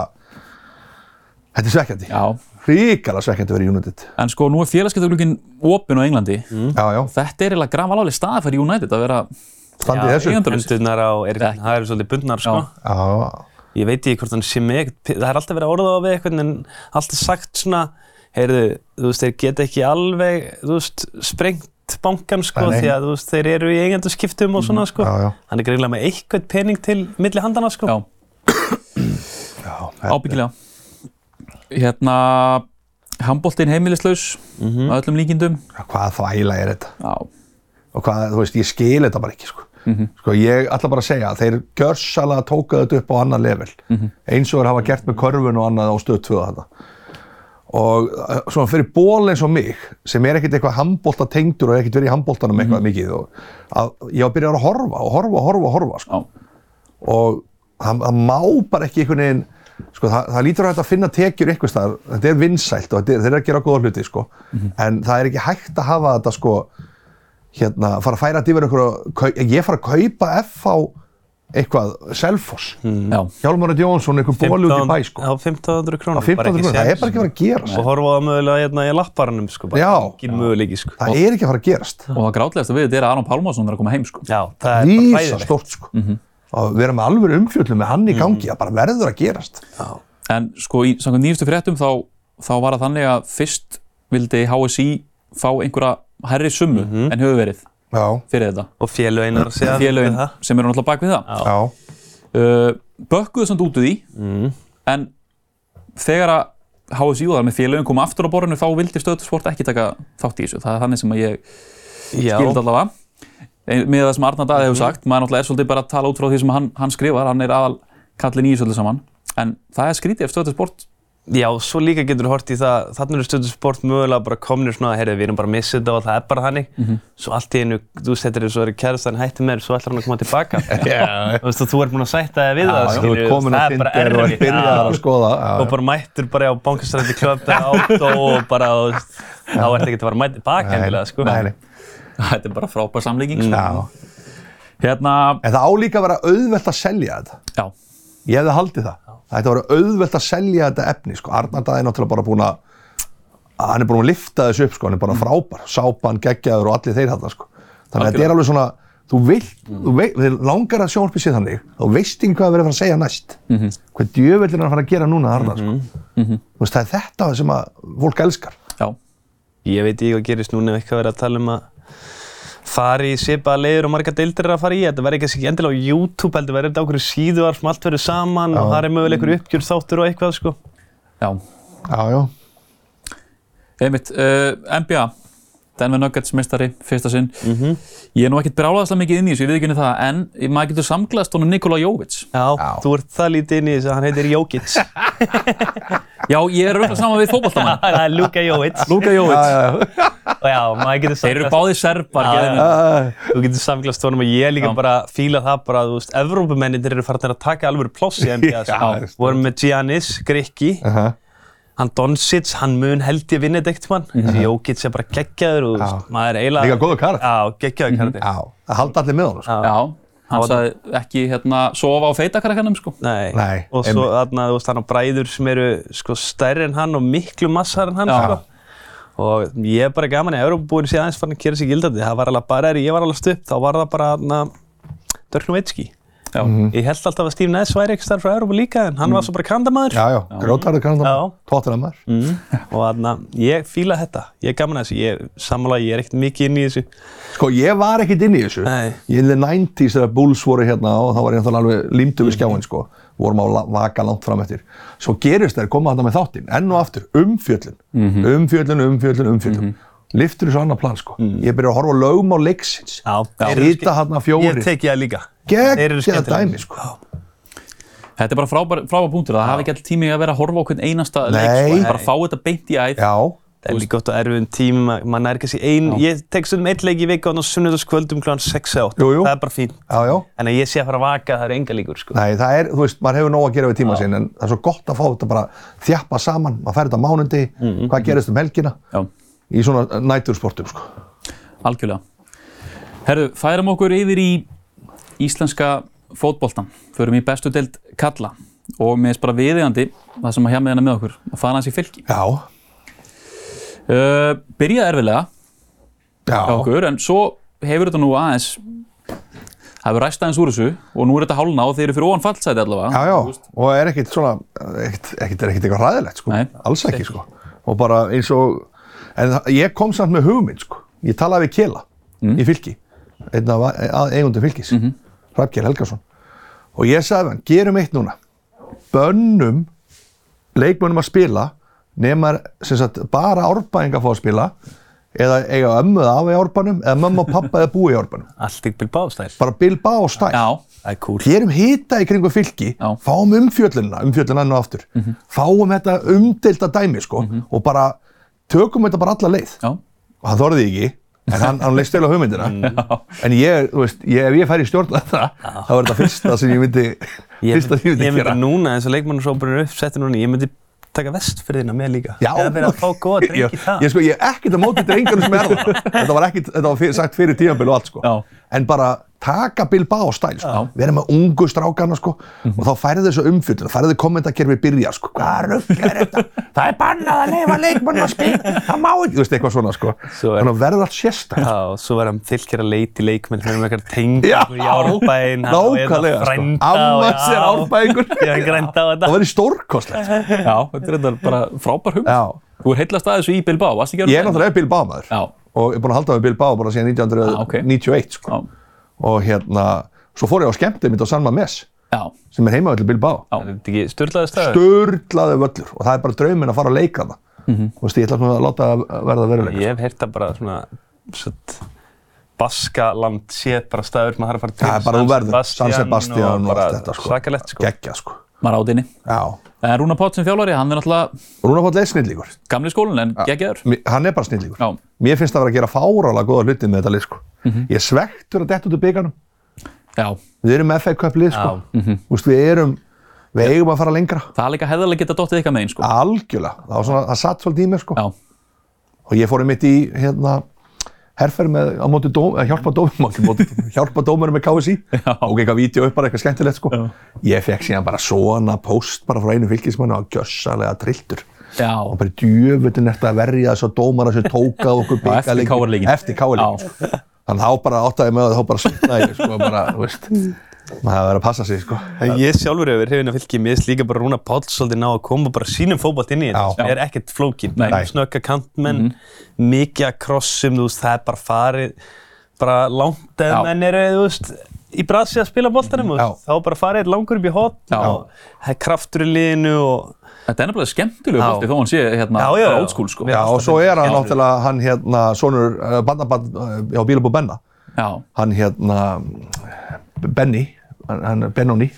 D: þetta er svekkjandi.
B: Já.
D: Ríkala svekkjandi verið United.
B: En sko, nú er félagskeptuglugginn opinn á Englandi.
D: Já, já,
B: Þetta er eiginlega grafalálið staða fyrir United að vera...
D: standið þessu.
B: eigandi-
D: Já,
B: endalaust.
C: Hendunar á, er,
B: Ekki.
C: það eru svolítið bundnar, sko.
B: Já.
D: já,
C: Ég veit ekki hvort hann sé mig, ekkert pi- það er alltaf verið að orða á við eitthvað, en alltaf sagt svona, heyrðu, þú veist, þeir geta ekki alveg, þú veist, sprengt bankan, sko,
D: Nei, nei.
C: því að, þú veist, þeir eru í eigendaskiptum og svona, sko.
D: já, já.
C: Hann er greinlega með eitthvað pening til milli handana, sko.
B: Já,
D: já.
B: ábyggilega. Hérna, handbóltinn heimilislaus,
C: Mhm.
B: að öllum líkindum.
D: Hvað þvæla er þetta?
B: Já,
D: Og hvað, þú veist, ég skil þetta bara ekki, sko. Sko, ég ætla bara að segja að þeir gjörsalega tóka þetta upp á annan level. Eins og þeir hafa gert með körfun og annað á stöð 2 þarna. Og eh, svona fyrir ból eins og mig, sem er ekkert eitthvað handbólta tengdur og ekkert verið í handbóltanum eitthvað mikið. Og að, ég var byrjað að horfa og horfa og horfa og horfa, sko.
B: já,
D: og það, það má bara ekki einhvern veginn sko, það, það lítur að þetta finna tekjur einhvers staðar, þetta er vinsælt og þetta er, þeir eru að gera góða hluti sko.
C: Mhm.
D: en það er ekki hægt að hafa þetta sko, hérna, fara að færa þetta yfir einhverju, ég fara að kaupa FH eitthvað, Selfoss
C: Hmm.
D: mm.
C: Mhm.
B: já.
D: Hjálmar Örn Jónsson, einhver bóli út í bæ sko.
C: á 1500
D: á
C: krónur,
D: 1500 grunn, það er bara ekki að fara að gerast
C: Og horfa á það mögulega hérna í lapparanum, sko, bara
D: Já.
C: ekki möguleiki, sko.
D: það er ekki að fara að gerast
B: Og það grátlegasta við þetta er að Aron Pálmarsson er að koma heim, sko.
C: Já, það er bara
D: Lísa
C: hræðilegt.
D: stort sko. og vera með alveg umfjöldum með hann í
C: Hmm.
D: gangi, það bara verður að gerast
B: En sko, í samkvæmt nýjustu fréttum þá, þá var það þannig að fyrst vildi HSI fá einhverja herri summu en hefur verið
D: já,
B: fyrir þetta.
C: Og félögin er að segja
B: Félögin
C: Mhm. það.
B: sem eru náttúrulega bak við það.
D: já,
B: Uh, bökkuðu samt út úr því, en þegar að HSI og þar með félögin kom aftur á borðinu þá vildi stöðsport ekki taka þátt í þessu. Það er þannig sem að ég
C: Já,
B: skild allavega. Ein- Með það sem Arnar Daði hefur sagt, maður náttúrulega er svolítið bara að tala út frá því sem hann, hann skrifar, hann er aðal kallin í þessu öllu saman. En það er skrítið ef stöðsport
C: Já, svo líka getur þú hort í það, þannig eru stundum sport mögulega bara komnir svona, heyrðu, við erum bara að missa þetta og það er bara þannig.
D: Mhm.
C: Svo allt í einu, þú settir þér svo er kærastan hætti með þér, svo ætlar hann að koma tilbaka.
D: Já.
C: Þú veist, og þú ert búinn að sætta þig við það,
D: Já, þú
C: skilurðu,
D: ert komin á
C: það er bara
D: Tinder og
C: erfitt.
D: byrjaðar
C: Já.
D: að skoða. já,
C: og bara mættur bara á bankastræti klöp eða átó og bara, þú veist, þá ert ekki að fara að mæta tilbaka
D: Nei,
C: endilega, sko.
D: nei, nei.
B: Þetta er bara frábær samlíking. sko.
D: Já.
B: Hérna,
D: En það á líka að vera auðvelt að selja þetta.
B: já,
D: Ég hefði haldið það. Það ætti að vera auðvelt að selja þetta efni. Sko. Arnardaði er náttúrulega bara búinn að, að hann er búinn að lifta þessu upp, sko. hann er bara
C: Mm.
D: frábær. Sápan, geggjaður og allir þeir þarna. Sko. Þannig að þetta er alveg svona, þú, vilt,
C: Mm.
D: þú vei, þér langar að sjónarpið sé þannig, þú veist ekki hvað það verið að fara að segja næst. Mm
C: Mhm.
D: -hmm. Hvað djöfell er hann að fara að gera núna Arnar? Sko. Þú veist, það er þetta sem að fólk elskar.
B: já,
C: Ég veit ekki hvað gerist núna ef eitthvað verið að tala um að fara í svipaða leiður og marga deildir er að fara í. Þetta verður kannski ekki endilega á YouTube heldur, verður þetta á okkur síðuar sem allt verður saman og það er mögulega einhver uppgjör þáttur og eitthvað sko.
B: já.
D: Já, já.
B: Einmitt, uh, NBA Denver Nuggets meistari, fyrsta sinn Ég er nú ekkert brálaðislega mikið inn í þessu, ég veit ekki henni það en maður getur samglaðast honum Nikola Jovic
C: Já, þú ert það lítið inn í þessu, hann heitir Jókits.
B: Já, ég er auðvitað saman við fótboltamann
C: það er Luka Jókits.
B: Luka Jovic,
C: Og já, maður getur sko.
B: þeir eru
C: samglast,
B: báðir serbar
C: Já,
B: geðinu.
D: Æ,
C: þú getur samglast honum og ég líka
B: Já.
C: bara fíla það bara, þú veist, Evrópumenninir eru farin að taka alveg ploss í NBA.
D: Já,
C: sko. Vorum með Giannis, Grikki,
D: aha.
C: hann Doncic, hann mun held ég vinna þetta eitt mann. Þessi Jókits er bara geggjaður og þú veist,
D: Mhm. Já.
C: maður er eiginlega...
D: Líka góður karakter.
C: Já, geggjaður karate.
D: Já, það halda allir með honum. Sko.
B: Já, hann sagði ekki hérna, sofa á feitakarakanum sko.
C: Nei.
D: Nei,
C: og svo þarna, þú veist, hann á bræður sem eru sko stærri en hann og miklu massar en hann,
B: Já.
C: sko. Og ég er bara gaman í Európa-búin síðan aðeins fann að gera sér gildandi. Það var alveg bara, er ég var alveg stupp, þá var það bara, þarna, Dörknu Veitski.
B: Já.
C: Ég held alltaf að Steve Ness væri ekki starf frá Európa líka, en hann var svo bara kandamaður.
D: Já, já, grótarður
C: Já.
D: kannan, tóttirna maður.
C: Og þarna, ég fíla þetta. Ég er gaman að þessu. Ég, sammála, ég er ekkert mikið inn í þessu.
D: Sko, ég var ekkert inn í þessu.
C: Nei.
D: Ég inn í 90s þegar Bulls voru hérna og þá var ég náttúrulega alveg límdu við
C: Mhm.
D: skjáin, sko. Vorum á la- vaka langt fram eftir. Svo gerist þeir koma þarna með þáttinn, enn og aftur, umfjöllin.
C: Mhm.
D: Umfjöllin, umfjöllin, umfjöllin. Mm -hmm. Liftur þessu annar plan, sko. Ég byrja að horfa á lögum á leiksins.
C: Mhm. Já, þeir eru
D: Sýta hérna
C: Ég
D: fjóri.
C: teki það líka. Þeir eru
D: Gekkja
C: skemmtilegir.
D: dæmi, sko.
B: Þetta er bara frábær, frábær punktur, það hafi ekki alltaf tími að vera að horfa á hvern einasta leik
D: Nei.
B: sko. en bara fá þetta beint í æð
D: Já,
C: Það er líka gott á erfiðum tímum, ma- maður nær kannski ein, ég tek stundum eitt leik í viku og sunnudagskvöldum kl. 6 eða 8.
D: Jú, jú.
C: Það er bara fínt.
D: já, já.
C: En að ég sé að fara að vaka, það er enga líkur, sko.
D: Nei, það er, þú veist, maður hefur nóg að gera við tíma sinn, en það er svo gott að fá þetta bara þjappa saman, maður fer þetta á mánundi,
C: Mhm.
D: hvað gerist um helgina,
B: Já,
D: í svona nætursportum, sko.
B: algjörlega Herðu, færum okkur yfir í íslenska fótboltan förum í bestu deild kalla og mér er bara viðeigandi það sem að hjá með hennar með okkur að fara hans í fylki
D: Já,
B: Uh, byrjaði erfilega
D: já,
B: hjá okkur, en svo hefur þetta nú aðeins það hefur ræst aðeins úr þessu og nú er þetta hálna og þeir eru fyrir ofan fallsæti allavega
D: já, já, og er ekkert svona, ekkert, ekkert, er ekkert eitthvað ræðilegt, sko,
B: Nei.
D: alls ekki, sko, og bara eins og, en það- ég kom samt með hugmynd, sko, ég talaði við Kela
B: Mm.
D: í fylki, einn af að- eigundum fylkis,
B: Mhm.
D: mm Helgason, og ég sagði við hann, gerum eitt núna, bönnum leikmönnum að spila, nema, sem sagt, bara árbæðinga fá að spila, eða eiga ömmu eða afa í árbanum, eða mömmu og pappa eða búi í árbanum,
C: Allt ykkur bástæl.
D: bara bilba og stæl.
B: já,
C: Það er cool.
D: gerum hita í kringu fylki,
B: Já.
D: fáum umfjöllunina, umfjöllunina enn og aftur, fáum þetta umdelta dæmi sko og bara tökum þetta bara alla leið.
B: já,
D: Og hann þorði ekki, en hann, hann leist stölu á hugmyndina. En ég, þú veist, ég, ef ég fær í stjórn að það, þá er þetta fyrsta sem ég myndi,
C: Ég,
D: fyrsta sem ég myndi,
C: ég myndi
D: gera.
C: núna, eins og leikmannarsópurinn er uppsettur núna, ég myndi taka vestfyrðina með líka.
D: Já,
C: Það er verið að fá góða
D: ég,
C: drengi það.
D: ég, sko, ég er ekkert að móti drengunum sem er það. Þetta var, ekkit, þetta var fyrir, sagt fyrir tímabil og allt, sko.
B: Já.
D: En bara taka Bilbao stæl, sko.
B: Já.
D: Við erum með ungu strákarna, sko. Og þá færðu þessu umfjöldun, færðu kommentakerfi byrja, sko. Hvað rugg er þetta? það er bannað að leifa leikmann að spila. Það má ekki, þú veist, eitthvað svona, sko.
C: Svo er-
D: Þannig að verður allt sérstak.
C: Já, og svo verðum fylgir að leiti leikmenn fyrir með eitthvað tengi,
D: Já.
C: í árbæinn, hann á hérna
D: Nákvæmlega, sko.
C: frænda og-
D: Amma sér
C: Já.
D: árbæðingur.
C: Ég er grænda á þetta.
D: Það verður stórkostlegt, sko.
B: já, þetta er þetta bara frábær hugmynd
D: Já.
B: Þú er heillast aðeins í Bilbao, varst ekki að
D: Ég er náttúrulega Bilbao maður.
B: Já.
D: Og ég er búin að halda með Bilbao bara síðan 1991, sko.
B: Já,
D: og hérna, svo fór ég á skemmtið mitt á San Mames,
B: já,
D: sem er heimavöldu Bilbao.
B: já,
C: Er þetta ekki sturlaður staður?
D: Sturlaði völlur og það er bara drauminn að fara að leika það. Þú veist, ég ætla svona að láta það verða veruleika.
C: Ég hef heyrt að bara svona, svona Baskaland sé bara staður maður þarf að fara til
D: Það er bara þú verður, San Sebastian og
C: bara
D: allt þetta, sko.
C: Svakalegt sko
D: Gekkja, sko.
B: maður átinni.
D: Já.
B: En Rúna Pátt sem þjálfari, hann er náttúrulega
D: Rúnar Páll er snillíkur.
B: gamli skólinn en geggjaður.
D: Mi- Hann er bara snillíkur.
B: Já.
D: Mér finnst það að vera að gera fárálega góða hluti með þetta lið, sko. Ég er svekkt fyrir að detta út úr byggarnum.
B: Já,
D: Við erum FA Cup lið, sko. Þú veist, við erum, við eigum að fara lengra.
B: það er líka hefðarlega geta dottið ykkar megin, sko.
D: Algjörlega. Það var svona, það satt svolítið í mér, sko.
B: Já,
D: Og ég fór einmitt í, hérna, herferð með, á móti dóm, að hjálpa dómurum, ekki móti, hjálpa dómurum með KSI.
B: Já.
D: Og eitthvað vídeo upp bara eitthvað skemmtilegt, sko.
B: Já.
D: Ég fekk síðan bara svona post bara frá einu fylgismann og gjössalega trilltur.
B: já,
D: og bara djöfullin eftir að verja þessu dómara sem tóka okkur
B: Já, eftir
D: bikarleikinn-
B: KR-leikinn.
D: eftir káleikinn þannig að þá bara áttaði mig á því, þá bara svitnaði ég sko bara, þú veist maður hefði verið að passa sig sko
C: Ég sjálfur hefur hrifin að fylgja, mér finnst líka bara Rúna Páll svolítið ná að koma bara sínum fótballt inn í þetta,
D: Já.
C: sem er ekkert flókin,
B: Nei.
C: snögga kantmenn, mikið að krossum, þú veist, það er bara farið, bara langt
B: Já.
C: ef menn eru, þú veist, í brasi að spila boltanum, þú veist,
D: Já.
C: þá er bara farið langur upp í hot,
B: Já.
C: og það er kraftur í liðinu og
B: þetta er nefnilega skemmtilegu
C: Já.
B: bolti þó hann sé hérna
C: Já, já, já.
B: bara old school, sko.
C: Já.
D: já, og svo er hann náttúrulega hann hérna sonur uh, bandabann uh, já, Bílabú Benna
B: Já,
D: hann hérna mm, Benny hann, hann Benoni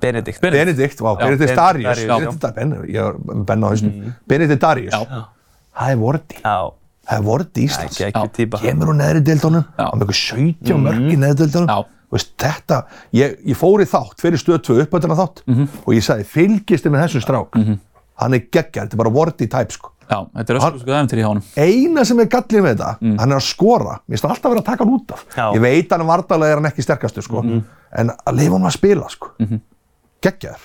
C: Benedikt.
B: Benedikt.
D: Benedikt, vá, Benedikt
C: Benedikt
D: Darius
C: Darius, já.
D: Benedikt Dar- Ben, ég er með Benna á hausnum Benedikt Darius
B: Mhm. Já.
D: það er vorti
C: Já,
D: það er vorti
C: það er
D: Íslands
C: ekki ekki típa.
D: kemur úr neðri deildunum
B: Já. Mhm.
D: og með eitthvað 17 mörg í neðri
B: Já.
D: deildunum Veist, þetta, ég, ég fór í þátt fyrir stöð 2 uppöndina þátt
B: Mhm.
D: og ég sagði fylgist þið með þessum strák hann er geggjær, þetta er bara wordy type sko.
B: já, þetta er ösku sko æventyri hjá honum.
D: eina sem er gallin með þetta hann er að skora, mér finnst alltaf verið að taka hann út af
C: Mm. Já. Mhm.
D: ég veit hann vartalega er hann ekki sterkastur sko. en að leifa hann að spila sko. geggjær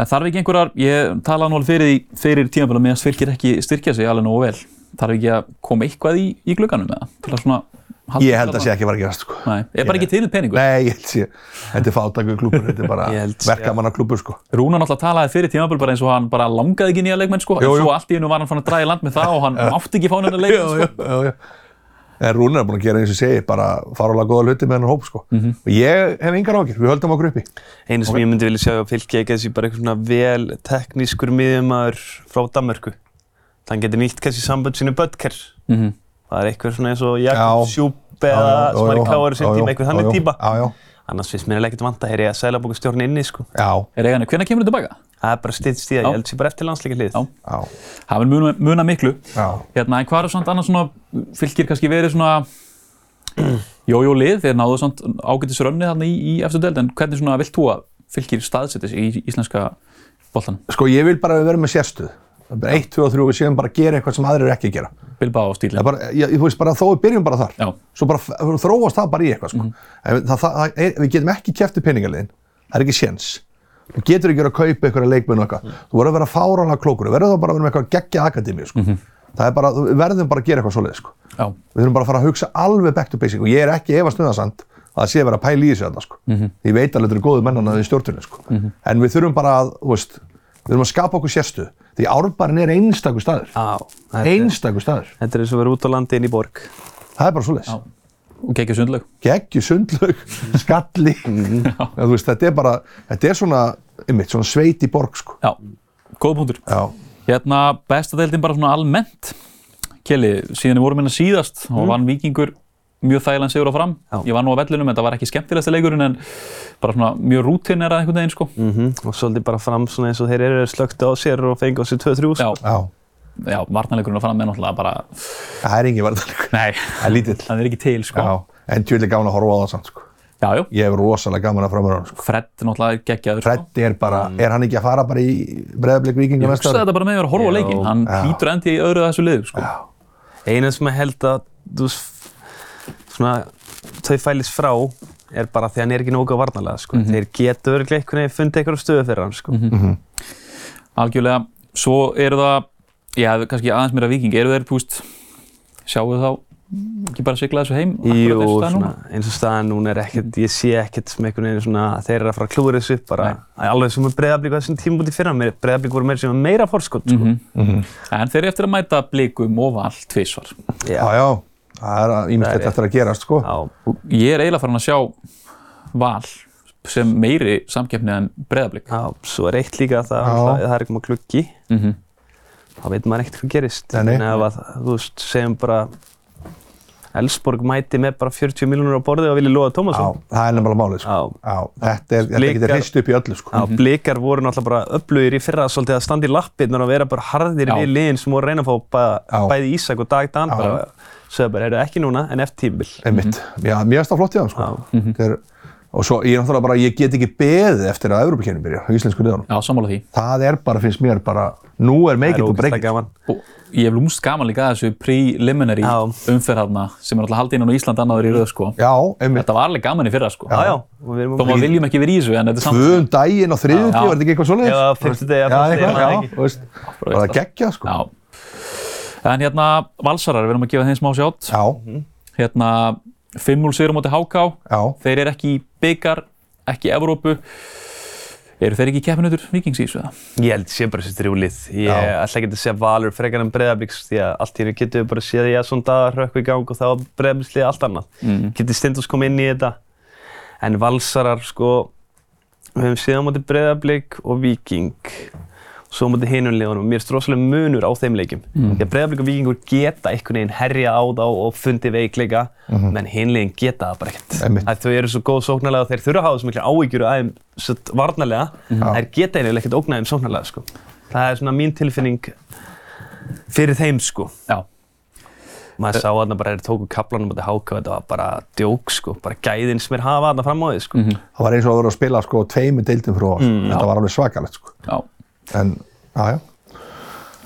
B: En þarf ekki einhverjar, ég talaði nú alveg fyrir, því- fyrir tímafélag meðan fylgir ekki styrkja sig alveg nógu vel. Þarf ekki að koma eitthvað í, í glugganum eða? Til að svona... halda-
D: ég held að sé ekki var að gerast sko.
B: Nei, er bara ekki til peningur.
D: Nei, ég held sé, þetta er fátakur klúpur, þetta er bara
C: Ég held sé,
D: verkamanna klúpur sko.
B: Rúnar náttúrulega talaði fyrir tímabil bara eins og hann bara langaði ekki í nýja leikmenn sko,
D: Jú,
B: en
D: jú.
B: svo allt í hennu var hann fann að draga í land með það og hann mátti ekki fá hennar leikmenn sko.
D: já, já. En Rúnar er búinn að gera eins og ég segi, bara faralega góða hluti með hennar hóp, sko.
C: Mhm.
D: Og ég hef engar ákjör, við höldum okkur uppi.
C: Einu sem ég myndi vilja sjá að fylgja ekki þessi bara eitthvað svona vel teknískur miðjumæður frá Danmörku. Hann getur nýtt kannski sambönd sínu Böttker.
B: Mhm.
C: Það er eitthvað svona eins og Jakob
D: Já.
C: Sjúp eða
D: Já, já,
C: Smari
D: já,
C: Káari
D: já,
C: sem
D: já,
C: tíma, eitthvað þannig
D: já, já.
C: típa.
D: Já, já,
C: Annars finnst mér ekkert vanta, heyr ég að Sælabókastjórn inni, sko.
D: já,
B: Er eiganu, hvenær kemur þetta tilbaka?
C: Það er bara styrst í
B: Já.
C: það, ég held sér bara eftir landsleika hlið.
B: Já.
D: já,
B: Það mun muna, muna miklu.
D: já.
B: Hérna, en hvað eru samt annars svona, fylgir kannski verið svona jójó lið, þeir náðu samt ágætis rönni þarna í, í eftir deild, en hvernig svona vilt þú að fylgir staðsettis í íslenska boltanum?
D: Sko, ég vil bara vera með sérstuð. Það er bara eitt, tvö og þrjú, við séum bara að gera eitthvað sem aðrir eru ekki að gera.
B: Bilbao
D: Það er
B: stílinn.
D: bara, ég, þú veist, bara þó við byrjum bara þar.
B: Já.
D: Svo bara f- þróast það bara í eitthvað, sko. En það, það, það, er- við getum ekki kæftið peningaliðin. Það er ekki séns. Þú getur ekki verið að kaupa einhverja leikmenn og eitthvað. Þú verður að vera fárálega klókur. Þú verður þá bara að vera með eitthvað geggja akademíu, sko. Það er bara, við verðum bara að gera eitthvað svoleið, sko.
B: Já,
D: Við þurfum bara að fara að hugsa alveg back to basic og ég er ekki efast um það samt að það sé að vera að pæla í þessu þarna sko.
C: Mhm.
D: Ég veit alveg þetta eru góðu mennana í stjórnunni sko. En við þurfum bara að, þú veist, við þurfum að skapa okkur sérstu. Því árbærin er einstakur staður.
C: Já. Þetta er-
D: Einstakur staður.
C: þetta er eins og verið út á landi inn í borg.
D: Það er bara svoleiðis.
B: já. Og gekkja sundlaug.
D: Geggju, sundlaug,
C: Mhm.
D: skalli. Já, þú veist, þetta er bara, þetta er svona, einmitt, svona sveit í borg sko.
B: Já, góð punktur.
D: Já.
B: Hérna, besta deildin bara svona almennt. Kelly, síðan við vorum hérna síðast og
D: Mm.
B: vann vikingur mjög þægilegan sigur á fram.
C: Já.
B: Ég var nú á vellunum en það var ekki skemmtilegasti leikurinn en bara svona mjög rútinerað einhvern veginn
D: Mm.
B: sko.
D: Mhm.
C: Og svolítið bara fram svona eins og þeir eru slögt á sér og fengi á sér 2-3.
B: Já,
C: sko.
D: Já.
B: já, varnarleikurinn á fram er náttúrulega bara,
D: Það er engin verðalega.
B: nei,
D: Það er lítill.
B: það er ekki til sko.
D: Já. En tjóðilega gaman að horfa á það samt sko.
B: Já, já,
D: Ég hef rosalega gaman að framöra hann sko.
B: Fred náttúrulega geggjaður sko.
D: Freddi er bara,
C: Mm.
D: er hann ekki að fara bara í breðablik vikinga
B: Ég
D: næsta
B: hugsaði
D: ári?
B: þetta bara með því að vera að horfa á
C: Já.
B: leikinn. Hann
D: Já.
B: hlýtur endi í öðru af þessu liðu sko.
C: Einu sem ég held að þú, veist, svona, þau fælis frá er bara því að hann er ekki nógu að varnalega. Sko.
B: Mhm.
C: Þeir geta örglega einhvern veginn fundið einhverja stöðu fyrir hann. Sko.
B: Algjörlega, svo eru það, já, kannski aðeins meira viking, eru þeir, púst, sjáu þá ekki bara sigla þessu heim? akkurat
C: Jú,
B: þessu stað
C: svona,
B: núna? Mhm.
C: eins og staðan núna er ekkert, ég sé ekkert sem einhvern veginn svona að þeir eru að fara að klúra þessu upp bara alveg sem að breyðablík á þessum tímabúti fyrir hann, breyðablík voru meira sem að meira fórskot sko.
B: Mhm. En þeir eru eftir að mæta blikum og val tvísvar.
C: Já,
D: Já, já, það er
C: Það
D: ímyndilegt
C: er-
D: eftir að gerast, sko.
C: já,
B: Og ég er eiginlega farin að sjá val sem meiri samkeppni en breðablik.
C: já, svo er eitt líka að það,
D: Já.
C: það, það er ekki maður gluggi,
B: Mm -hmm.
C: þá veit maður ekkert hvað gerist.
D: Nei, nei.
C: En ef að, þú veist, segjum bara, ef Elsborg mæti með bara 40 miljónur á borði og vilja loða
D: Já,
C: Tómasson.
D: það er nefnilega málið sko.
C: Já.
D: Já, þetta er, þetta
C: Blikar-
D: getur hrist upp í öllu sko.
C: Já, blikar voru náttúrulega bara öflugir í fyrra svolítið að standa í lappirnar og vera bara harðir
B: Já.
C: við liðin sem voru að reyna að fá bæ,
D: Já.
C: bæði Ísak og Dag Dan
D: Já.
C: bara sögðu bara, eru ekki núna en eftir tímbil.
D: einmitt.
C: Mhm.
D: Já, mér finnst það flott í það, sko.
B: Mhm.
D: Þetta er, og svo, ég er náttúrulega bara, ég get ekki beðið eftir að Evrópakeppnin byrja á íslensku liðunum.
B: Já, sammála því.
D: Það er bara, finnst mér, bara, nú er
C: Það
D: meikið
C: er
D: og
C: ógæslega
D: breykið.
C: gaman.
B: Og ég hef lúmst gaman líka að þessu preliminary
C: Já.
B: umferðarna sem er alltaf haldið innan á Ísland annaður í röð sko.
D: Já, einmitt.
B: Þetta var alveg gaman í fyrra sko.
C: Já, já, og við erum
B: Þó maður viljum ekki verið í þessu en þetta er samt.
D: Tvöðum daginn og
B: Já.
D: þriðjum var þetta ekki eitthvað svoleiðis?
C: Já, fimmtudegi eða
D: Já,
C: föstudegi,
D: eitthvað,
C: maður
D: já,
C: ekki.
D: þú veist.
B: bara
D: Bara
B: veist það.
D: geggja, sko.
B: Já. En hérna Valsarar, við erum að gefa þeim smá sjátt.
D: Já,
C: Mhm.
B: Hérna 5-0 sigur á móti HK.
D: já.
B: Þeir eru ekki í byggar, ekki í Evrópu. Eru þeir ekki keppinutur Vikings í þessu eða?
C: Ég held sé bara þessi þrjúlið. Ég
D: Já.
C: ætla ekki að segja Valur frekar en Breiðablíks því að allt í hennu getum við bara séð ég að svona dagar hrökk í gang og þá Breiðablíksliði allt annað. Mm. Getur Stindus komið inn í þetta. En Valsarar sko, við höfum séð á móti Breiðablík og Víking og svo á móti hinum liðunum. Mér er rosalega munur á þeim leikjum.
D: Mm.
C: Því að Breiðablík og Víkingur geta einhvern veginn herja á þá og fundi veikleika, menn hinlegin geta það bara ekkert.
D: Mhm. Einmitt.
C: Að þau eru svo góð sóknarlega og þeir þurfa að hafa svo mikla áhyggjur af þeim satt varnarlega,
D: Mhm.
C: þær geta eiginlega ekkert ógnað þeim sóknarlega sko. Það er svona mín tilfinning fyrir þeim sko.
B: Já.
C: Maður sá þarna bara þeir tóku kaplanum á þetta háka þetta var bara djók sko, bara gæðin sem er hafa þarna fram á því sko.
D: Það var eins og að vera að spila, sko, tveimur deildum frá oss.
C: Mm,
D: Þetta var alveg svakalegt, sko.
B: Já.
D: En, já, já.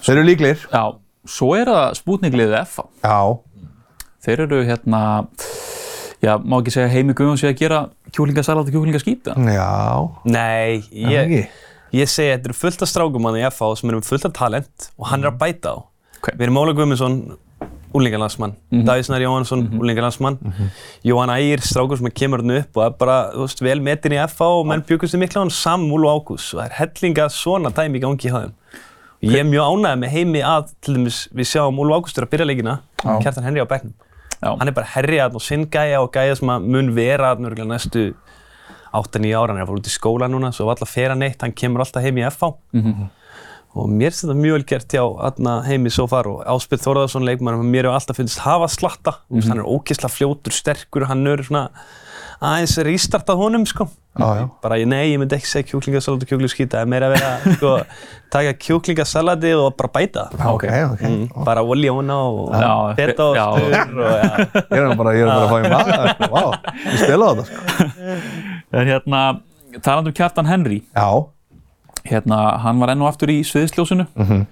D: Þeir eru líklegir.
B: Já. Svo er það spútningliðið FA.
D: Já,
B: Þeir eru hérna, já, má ekki segja heimi guðum sé að gera kjúlingasalat og kjúlingaskýta.
D: já.
C: Nei,
D: það
C: ég,
D: ekki?
C: ég segi þetta eru fullt af strákum hann í FH sem erum fullt af talent og hann er að bæta á.
B: Ok.
C: Við erum Óla Guðmundsson, úlingarlandsmann, mm -hmm. Davísnar Jóhannsson, mm Jóhann Ægir, strákur sem kemur hann upp og er bara, þú veist, vel metin í FH og menn bjökust í mikla á hann Samúl og Ágús og það er hellinga svona dæmi í gangi hjá þeim. Og Ég er mjög ánægð með heimi að, til dæmis, við sjáum Úlf Ágústur að byrja leikina, Kjartan Henry á bekknum.
B: Já.
C: Hann er bara herjaðan og sinn gæja og gæja sem að mun vera hann örgulega næstu 8-9 ára, hann er að fara út í skóla núna, svo alltaf fer hann eitt, hann kemur alltaf heim í FH. Og mér finnst þetta mjög vel gert hjá þarna heimi svo far og Áspil Þórðarsson leikmann, mér hefur alltaf finnst hafa slatta, mm
B: Mhm.
C: hann er ókysla fljótur, sterkur, hann er svona aðeins er ístartað honum sko.
D: Já, já.
C: Bara ég, nei, ég myndi ekki segja kjúklingasalat og kjúklingaskýta, það er meira að vera sko, taka kjúklingasalati og bara bæta það.
D: Ok, ok.
C: Mm, bara olja hún á og
B: Já,
C: feta og
B: já.
C: spur og já.
D: Ég er bara, ég er bara að fá í maður, sko. Vá, ég spilaði þetta, sko.
B: En hérna, talandu um Kjartan Henry,
D: Já,
B: hérna, hann var enn og aftur í sviðsljósinu
D: Mhm.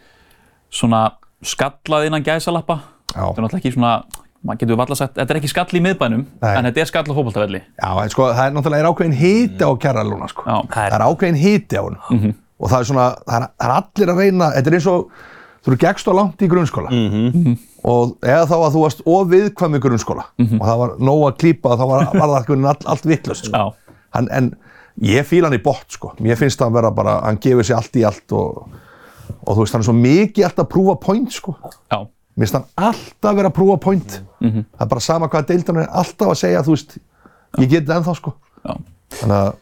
B: svona skallað innan gæsalappa
D: Já.
B: þetta er náttúrulega ekki svona maður getur valla sagt, þetta er ekki skall í miðbænum
D: Nei.
B: en þetta er skall á fótboltavelli
D: Já, en sko, það er náttúrulega er ákveðin hiti á kjarralúna, sko.
B: Já.
D: Það er Mhm. ákveðin hiti á hún. Og það er svona, það er, það er allir að reyna, þetta er eins og, þú eru gegst á langt í grunnskóla. Og eða þá að þú varst of viðkvæm í grunnskóla. Og það var nóg að klípa, þá var, var það allt, allt, allt vittlust, sko.
B: Já.
D: Hann, en ég fíla hann í bótt, sko. Mér finnst hann vera bara, hann gefur sér allt í allt og, og þú veist, hann er svo mikið alltaf að prúfa point, sko.
B: já,
D: Mér finnst hann alltaf vera að prúfa point.
C: Mhm.
D: Það er bara sama hvað deildan er alltaf að segja, þú veist, ég get þetta ennþá, sko.
B: já.
D: Þannig að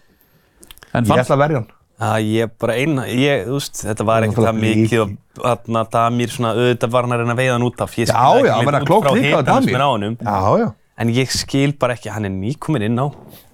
B: en
D: Ég
B: fannst,
D: ætla að verja hann.
C: Já, ég bara eina, ég, þú veist, þetta var ekki það
D: náttúrulega
C: mikið og þarna Damir svona, auðvitað var hann að reyna að veiða hann út af. Ég skil
D: Já,
C: ekki
D: já, hann
C: neitt
D: verður
C: út
D: klók
C: frá
D: líka á
C: hitanum sem
D: Damir.
C: er á honum.
D: Já, já.
C: En ég skil bara ekki, hann er nýkominn inn á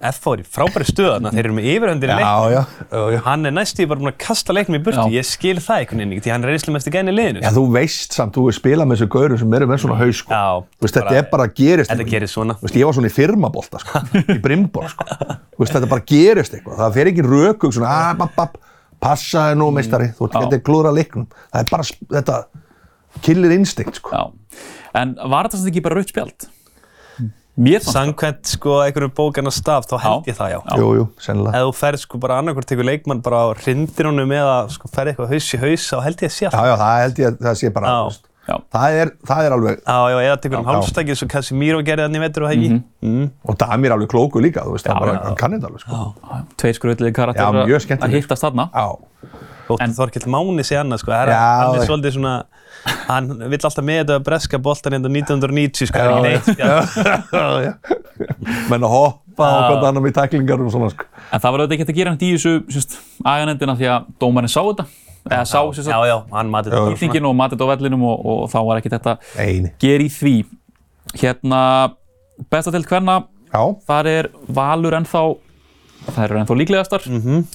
C: FH er í frábæri stöð þarna, þeir eru með yfirhöndir í leiknum.
D: Já, já.
C: Hann er næstu, ég bara búinn að kasta leiknum í burtu,
B: Já.
C: ég skil það einhvern veginn ekki, því hann er reynslu mest í gæðinni liðinu. sko.
D: Já, þú veist samt, þú er spilað með þessu gaurum sem eru með svona haus, sko.
C: Já,
D: Þú veist, þetta
C: bara-
D: er bara að gerist
C: Þetta sko. gerir svona.
D: Þú veist, ég var svona í firmabolta, sko, í brimbor, sko. Þú veist, þetta bara gerist eitthvað. Það fer ekki rökug svona, "Ah, að, bap, bap, passa þig nú, meistari. Þú
C: Mm.
D: ert ekki að klúðra leiknum. Það er bara, sp- þetta, killir instinct, sko.
B: já. en var þetta samt ekki bara rautt spjald mér fannst
C: Samkvæmt sko einhverju bókarna staf, þá held ég það já.
D: Jú, jú, sennilega.
C: Ef þú ferð sko bara annarkvort tekur leikmann bara á hrindinunum eða sko ferð eitthvað haus í haus, þá held ég að sé
D: Já,
C: alltaf.
D: já, það held ég að það sé bara,
C: Já.
D: þú veist,
B: Já.
D: það er, það er alveg,
C: Já, já, eða tekur um hálfstakið svo Casimiro gerði þannig veitur og hegi. Mm.
D: og Damir er alveg klóku líka, þú veist, hann bara,
B: já.
D: hann kann þetta alveg, sko.
B: tveir skröðlegi
D: Já,
B: karakterar
D: mjög
B: að- að
D: skemmtilegir.
B: hittast þarna
D: Já.
C: Þótt en Þorkill Máni sé annað, sko. Það er,
D: Já,
C: hann er
D: já.
C: svolítið svona, hann vill alltaf með þetta að breska hérna boltan enda 1990, sko. Já, neitt, já.
D: já, já. menn að hoppa og hvað annar með tæklingar og svona sko.
B: en það var auðvitað ekki hægt að gera hægt í þessu aganendina því að dómarinn sá þetta eða sá sem
C: já,
B: sagt
C: já, hann mati þetta bara svona.
B: hýtingin og matið á vellinum og, og þá var ekki þetta
D: Eini.
B: ger í því. Hérna, besta til hverna,
D: Já,
B: þar er Valur ennþá, þær eru ennþá líklegastar. Mm
D: Mhm.
B: -hmm.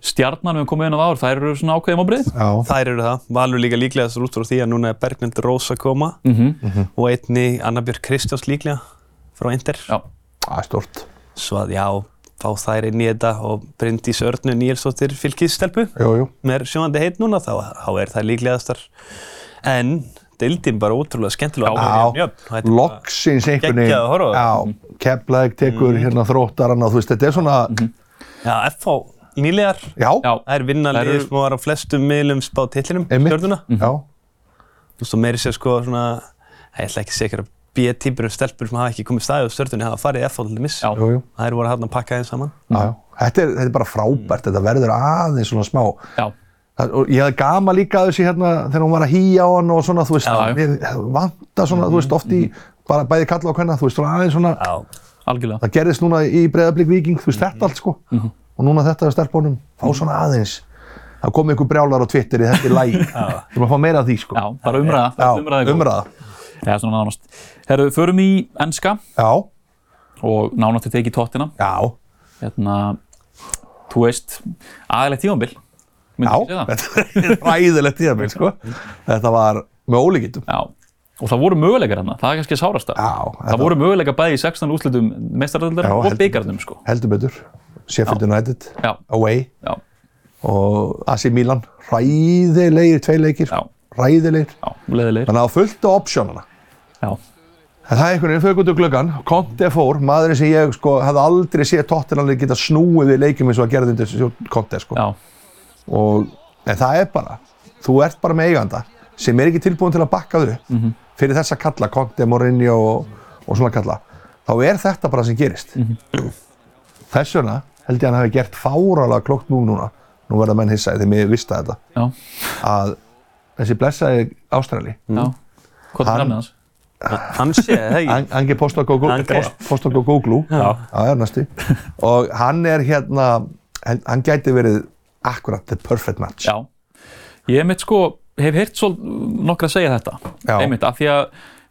B: Stjarnan, við höfum komið inn á það áður, þær eru svona ákveðið mábrið.
D: já,
C: Þær eru það, Valur líka líklega út frá því að núna er Berglind Rós að koma og einni Anna Björk Kristjáns líklega frá Inder.
B: Já,
D: það er stórt.
C: Svo að já, fá þær inn í þetta og Bryndís Örnu Níelsdóttir fylgistelpu
D: Jú, jú.
C: með sjónandi heit núna þá, þá er það líklegastar. En deildin bara ótrúlega skemmtilega
B: Já.
C: og jöfn. og þetta er bara-
D: Loksins einhvern veginn.
C: Geggjað að horfa á Mhm.
D: Já, keflaðið tekur hérna þróttarann og þú veist, þetta er svona,
C: Já, FH nýlegar.
D: já,
B: já,
C: Það er vinnarliðið
B: Þær eru-
C: sem var á flestum miðlum spá tillinum,
D: einmitt.
C: stjórnuna.
D: Já,
C: Mhm. Þú veist, og meiri sér sko svona, ég ætla ekki að segja að B-típur um stelpur sem hafa ekki komið staðið á stjórnunni hafa farið í FH til dæmis.
B: Já.
D: jú, jú.
C: Það eru voru hann að pakka þeim saman.
D: Já, já. Þetta er, þetta er bara frábært, þetta verður aðeins svona smá.
B: já,
D: Það, og ég hafði gama líka að þessi hérna þegar hún var að hýja á hann og svona, þú veist,
B: Já, Mhm. já.
D: við vanta svona, þú veist, oft í, bara bæði kalla á hvernig, þú veist, svona aðeins svona,
C: Já.
B: algjörlega.
D: það gerðist núna í Breiðablík Víking, þú veist,
B: Mhm.
D: þetta allt sko, og núna þetta er stelpunum, fá svona aðeins. Það kom einhver brjálar á Twitter í þetta er læg, þú maður fá meira af því sko.
B: Já, bara umræða,
D: Já,
B: þetta umræða er góð.
D: umræða.
B: Já, svona nánast. Herru, förum í ennska
D: Já,
B: og nánast er tekið tóttina.
D: já,
B: Hérna, þú veist, aðeinlegt tífambil.
D: já, þetta er ræðilegt tíðanbíl sko.
B: Mhm.
D: Þetta var með ólíkittum.
B: Já, og það voru möguleikar hérna, það er kannski sárasta.
D: Já,
B: það
D: þetta-
B: voru möguleikar bæði í 16 úrslitum meistaröldar
D: Já,
B: og
D: heldur
B: byggarnum, sko.
D: Heldur betur, Sheffield United,
B: Já,
D: away.
B: já,
D: og AC Milan, ræðilegir tvei leikir,
B: Já.
D: ræðilegir
B: já, leðilegir.
D: þannig að það var fullt á optionana
B: Já,
D: en það er einhvern veginn fyrir út úr gluggan, Conte fór maðurinn sem ég sko, hafði aldrei séð Tottenham geta snúið við leikum eins og að gera þetta undir Conte sko
B: já,
D: og, en það er bara, þú ert bara með eiganda sem er ekki tilbúin til að bakka þau mm
B: Mhm.
D: -hmm. fyrir þessa kalla, Conte, Mourinho og, og svona kalla þá er þetta bara sem gerist
B: Mhm.
D: þess vegna held ég að hann hafi gert fáralega klokt múm núna nú verða menn hissaði þegar mér vista þetta
B: já,
D: að þessi blessaði Ástrali,
B: já. Hvað er
D: Mm. Hann-
B: nafnið hans?
C: Hann sé, hei.
D: Angi
C: Ange.
D: Postokko Góglú það er næstu og hann er hérna hann hann gæti verið akkurat the perfect match
B: Já, ég mitt sko, hef heyrt svo nokkra að segja þetta.
D: Já.
B: Einmitt, af því að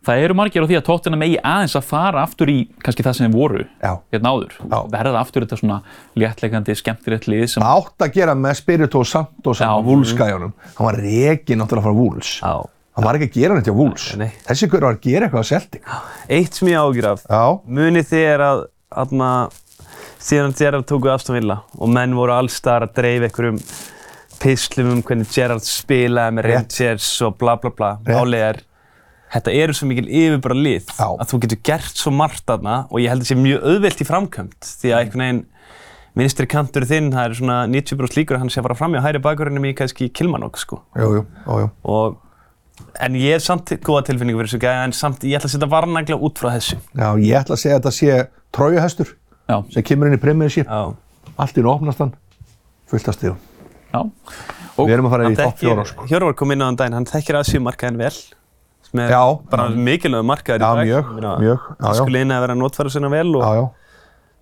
B: það eru margir á því að tóttina megi aðeins að fara aftur í kannski það sem þeir voru
D: Já.
B: hérna áður.
D: Já.
B: Verða aftur þetta svona léttleikandi, skemmtilegt lið sem...
D: Það átt að gera með Spirito Santos
B: Já.
D: á vúlskæjunum hann var rekin náttúrulega frá vúls
C: Mm. Já.
D: hann var ekki að gera neitt hjá vúls
C: Nei.
D: þessi hver var að gera eitthvað að selting
C: Eitt sem ég ágjur af.
D: Já.
C: Munið þér að, aðna, síðan Gerard tóku aftan villa og menn voru allstar að dreif einhverjum pislum um hvernig Gerard spilaði með
D: Rétt.
C: Rangers og bla bla bla,
D: Rétt.
C: álegar. Þetta eru svo mikil yfirbara lið
D: Já.
C: að þú getur gert svo margt þarna og ég held að það sé mjög auðvelt í framkvæmt því að einhvern veginn vinstri kantur þinn, það er svona 90% líkur að hann sé að fara fram í hæri bakurinnum í kannski Kilmanok sko
D: jú, jú, ó, jú.
C: og en ég hef samt góða tilfinningu fyrir þessu gæja en samt ég ætla að setja varnagla út frá þessu
D: Já, ég ætla að segja að þetta sé trójuhestur
B: Já,
D: sem kemur inn í premiership
C: Já,
D: allt í nú opnast hann fullt af stíðum
B: já,
D: við erum að fara
C: hann
D: í topp
C: þekkir,
D: fjóra sko.
C: Hjörvar kom inn á þann daginn, hann þekkir Asíu markaðin vel sem er
D: Já.
C: bara mikilvæg markaður
D: Já,
C: í dag
D: mjög,
C: Ég meina,
D: mjög, já,
C: hann
D: já.
C: skulle inn að vera að notfæra sinna vel og
D: já, já.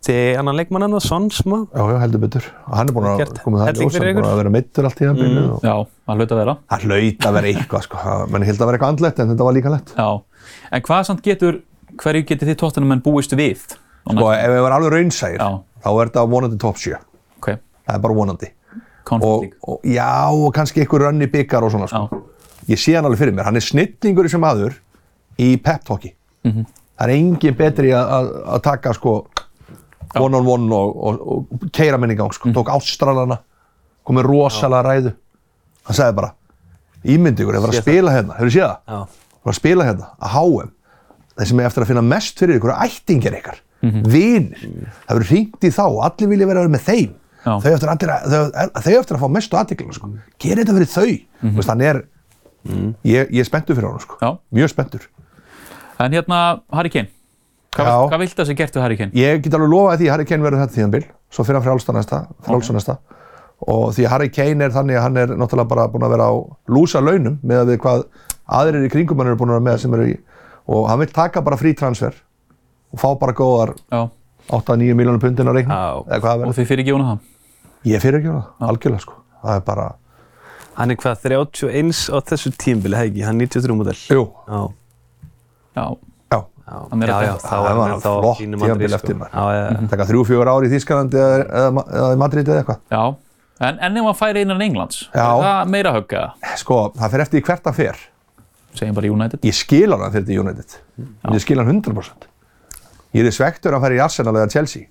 C: til annan leikmann hann og sonn smá
D: Já, já, heldur betur. Hann er búinn að
C: Gert
D: koma það í
C: helling
D: ljós, hann
C: fyrir
D: er búinn
C: ykkur. Mm.
D: að vera mittur allt í hann byrju. og
B: já, það hlaut að vera.
D: Það hlaut að vera eitthvað, sko. Það- Menn held að vera eitthvað andlegt, en þetta var líka lett.
B: Já, en hvað samt getur, hverju getur þið tóttunum en búist við? á
D: Og
B: næstu-
D: Sko, ef við varum alveg raunsægir,
B: Já.
D: þá er þetta vonandi top 7.
B: Ok,
D: Það er bara vonandi. Og,
B: konflikting.
D: og já, og kannski einhver rönni byggar og svona, sko. Ég sé hann alveg fyrir mér. Hann er snillingur í sem aður í pep-talki.
C: Mhm.
D: Það er engin betri að- að að taka, sko, one-on-one og, og, og keira minni í gang,
C: Mhm.
D: sko. Tók ástralana, komið rosalega ræðu. Hann sagði bara, ímyndi ykkur, hefur að
C: Sé það.
D: spila hérna, hefur séð það?
C: Já.
D: var að spila hérna að HM þeir sem er eftir að finna mest fyrir ykkur ættingjar ykkar,
C: Mhm.
D: vinir það verður hringt í þá, allir vilja vera með þeim
B: Já.
D: þau eftir, allir að, þau, þau eftir að fá mestu aðtikla sko. gera þetta fyrir þau mm -hmm. hann er, ég, ég er spenntur fyrir hann sko.
B: Mhm. Já.
D: mjög spenntur
B: En hérna, Harry Kane. Hvað,
D: Já.
B: vilt- hvað vilt það sem gert við Harry Kane?
D: ég get alveg lofað því að Harry Kane verður þetta tíðanbil svo fyrir hann frjálsta næsta, frjálsta næsta og því að Harry Kane er þannig að hann er náttúrulega bara búin að vera á lúsa launum með að við hvað aðrir í kringum hann eru búin að vera með sem eru í og hann vil taka bara frí transfer og fá bara góðar
B: Já,
D: 8-9 miljónur pundin á reikning
C: Já.
D: eða hvað það
B: og
D: verður.
B: þið fyrir ekki það.
D: Ég fyrir ekki það, algjörlega sko. Það er bara,
C: Hann er hvað 31 á þessu tímbili, hegi, hann er 93 modell
D: jú,
C: Já,
B: Já,
D: já,
B: Hann er
C: já,
B: að
C: já,
B: frétta.
C: þá
D: Það
C: er
D: var
C: hann þá á
D: flott
C: fínu
D: tímabil
C: Madrid,
D: eftir maður. Mhm.
C: Já, já, já.
B: Mhm.
D: taka þrjú, fjögur ár í Þýskalandi eða, eða, eða Madrid eða eitthvað.
B: Já, en, en ef hann færi innan Englands,
D: Já.
B: er það meira högg eða?
D: Sko, það fer eftir í hvert að fer.
B: Segjum bara United.
D: Ég skil hann að fyrir til United. En ég skil hann 100%. Ég er svektur að fara í Arsenal eða Chelsea.